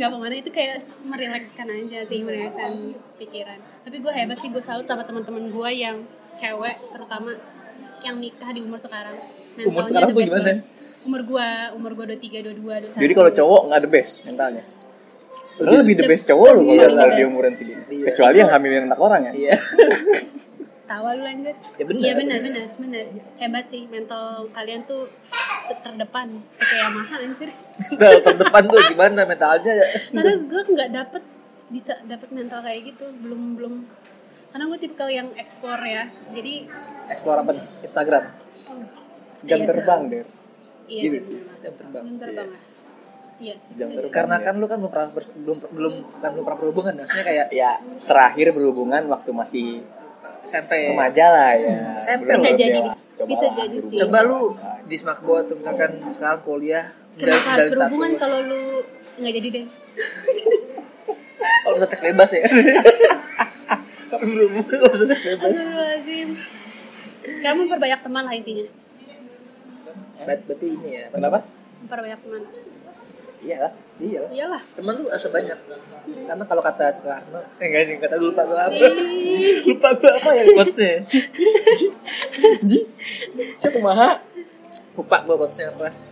S3: Gak kemana itu kayak merilekskan aja sih, merilekskan pikiran. Tapi gue hebat sih, gue salut sama teman-teman gue yang cewek terutama yang nikah di umur sekarang.
S1: Umur
S3: Mentalnya
S1: sekarang
S3: the
S1: tuh
S3: best
S1: gimana?
S3: banget. Umur gue, umur gue 23, 22, 21.
S2: Jadi kalau cowok gak the best mentalnya. Lu
S1: Lebih-
S2: lebih the best cowok lu kalau
S1: Iya,
S2: mental
S1: iya.
S2: di umuran segini.
S1: Iya.
S2: Kecuali yang hamilin anak orang ya.
S1: iya
S3: Tawa lu lanjut.
S1: Ya benar,
S3: Iya benar, benar, benar. Hebat sih mental kalian tuh ter- terdepan. Kayak Yamaha anjir.
S1: Nah, terdepan tuh gimana mentalnya ya?
S3: Karena gue nggak dapet bisa dapet mental kayak gitu, belum belum. Karena gue tipikal yang explore ya. Jadi
S1: Explore apa nih? Instagram.
S2: Jam
S3: Iya,
S2: terbang, Der.
S3: iya
S2: Gitu
S3: jam
S2: sih.
S3: terbang.
S1: Jam terbang.
S3: Jam terbang. lah. Iya sih.
S2: Jam
S3: bisa
S2: terbang.
S1: Karena kan lu kan belum pernah bers- belum belum kan belum pernah berhubungan, maksudnya kayak
S2: Ya, terakhir berhubungan waktu masih
S1: SMP.
S2: remaja lah ya.
S1: SMP loh.
S2: Belum
S3: Bisa jadi,
S2: dewasa.
S3: bisa
S2: Cobalah
S3: jadi sih.
S1: Coba lu di smartboard atau misalkan sekarang kuliah
S3: Kenapa harus
S1: status.
S3: berhubungan kalau lu nggak jadi deh?
S1: kalau bisa seks bebas ya?
S2: Gak
S1: belum kalau sukses bebas
S3: Aduh, lazim. Sekarang memperbanyak teman lah intinya.
S1: Ber- berarti ini ya
S2: Kenapa?
S3: Memperbanyak teman.
S1: iya iya
S3: Iyalah.
S1: teman tuh harus banyak karena kalau kata Soekarno eh enggak sih kata gue lupa gue apa
S3: Ih,
S1: lupa gue apa ya quotesnya
S2: Siapa maha?
S1: lupa gue quotesnya apa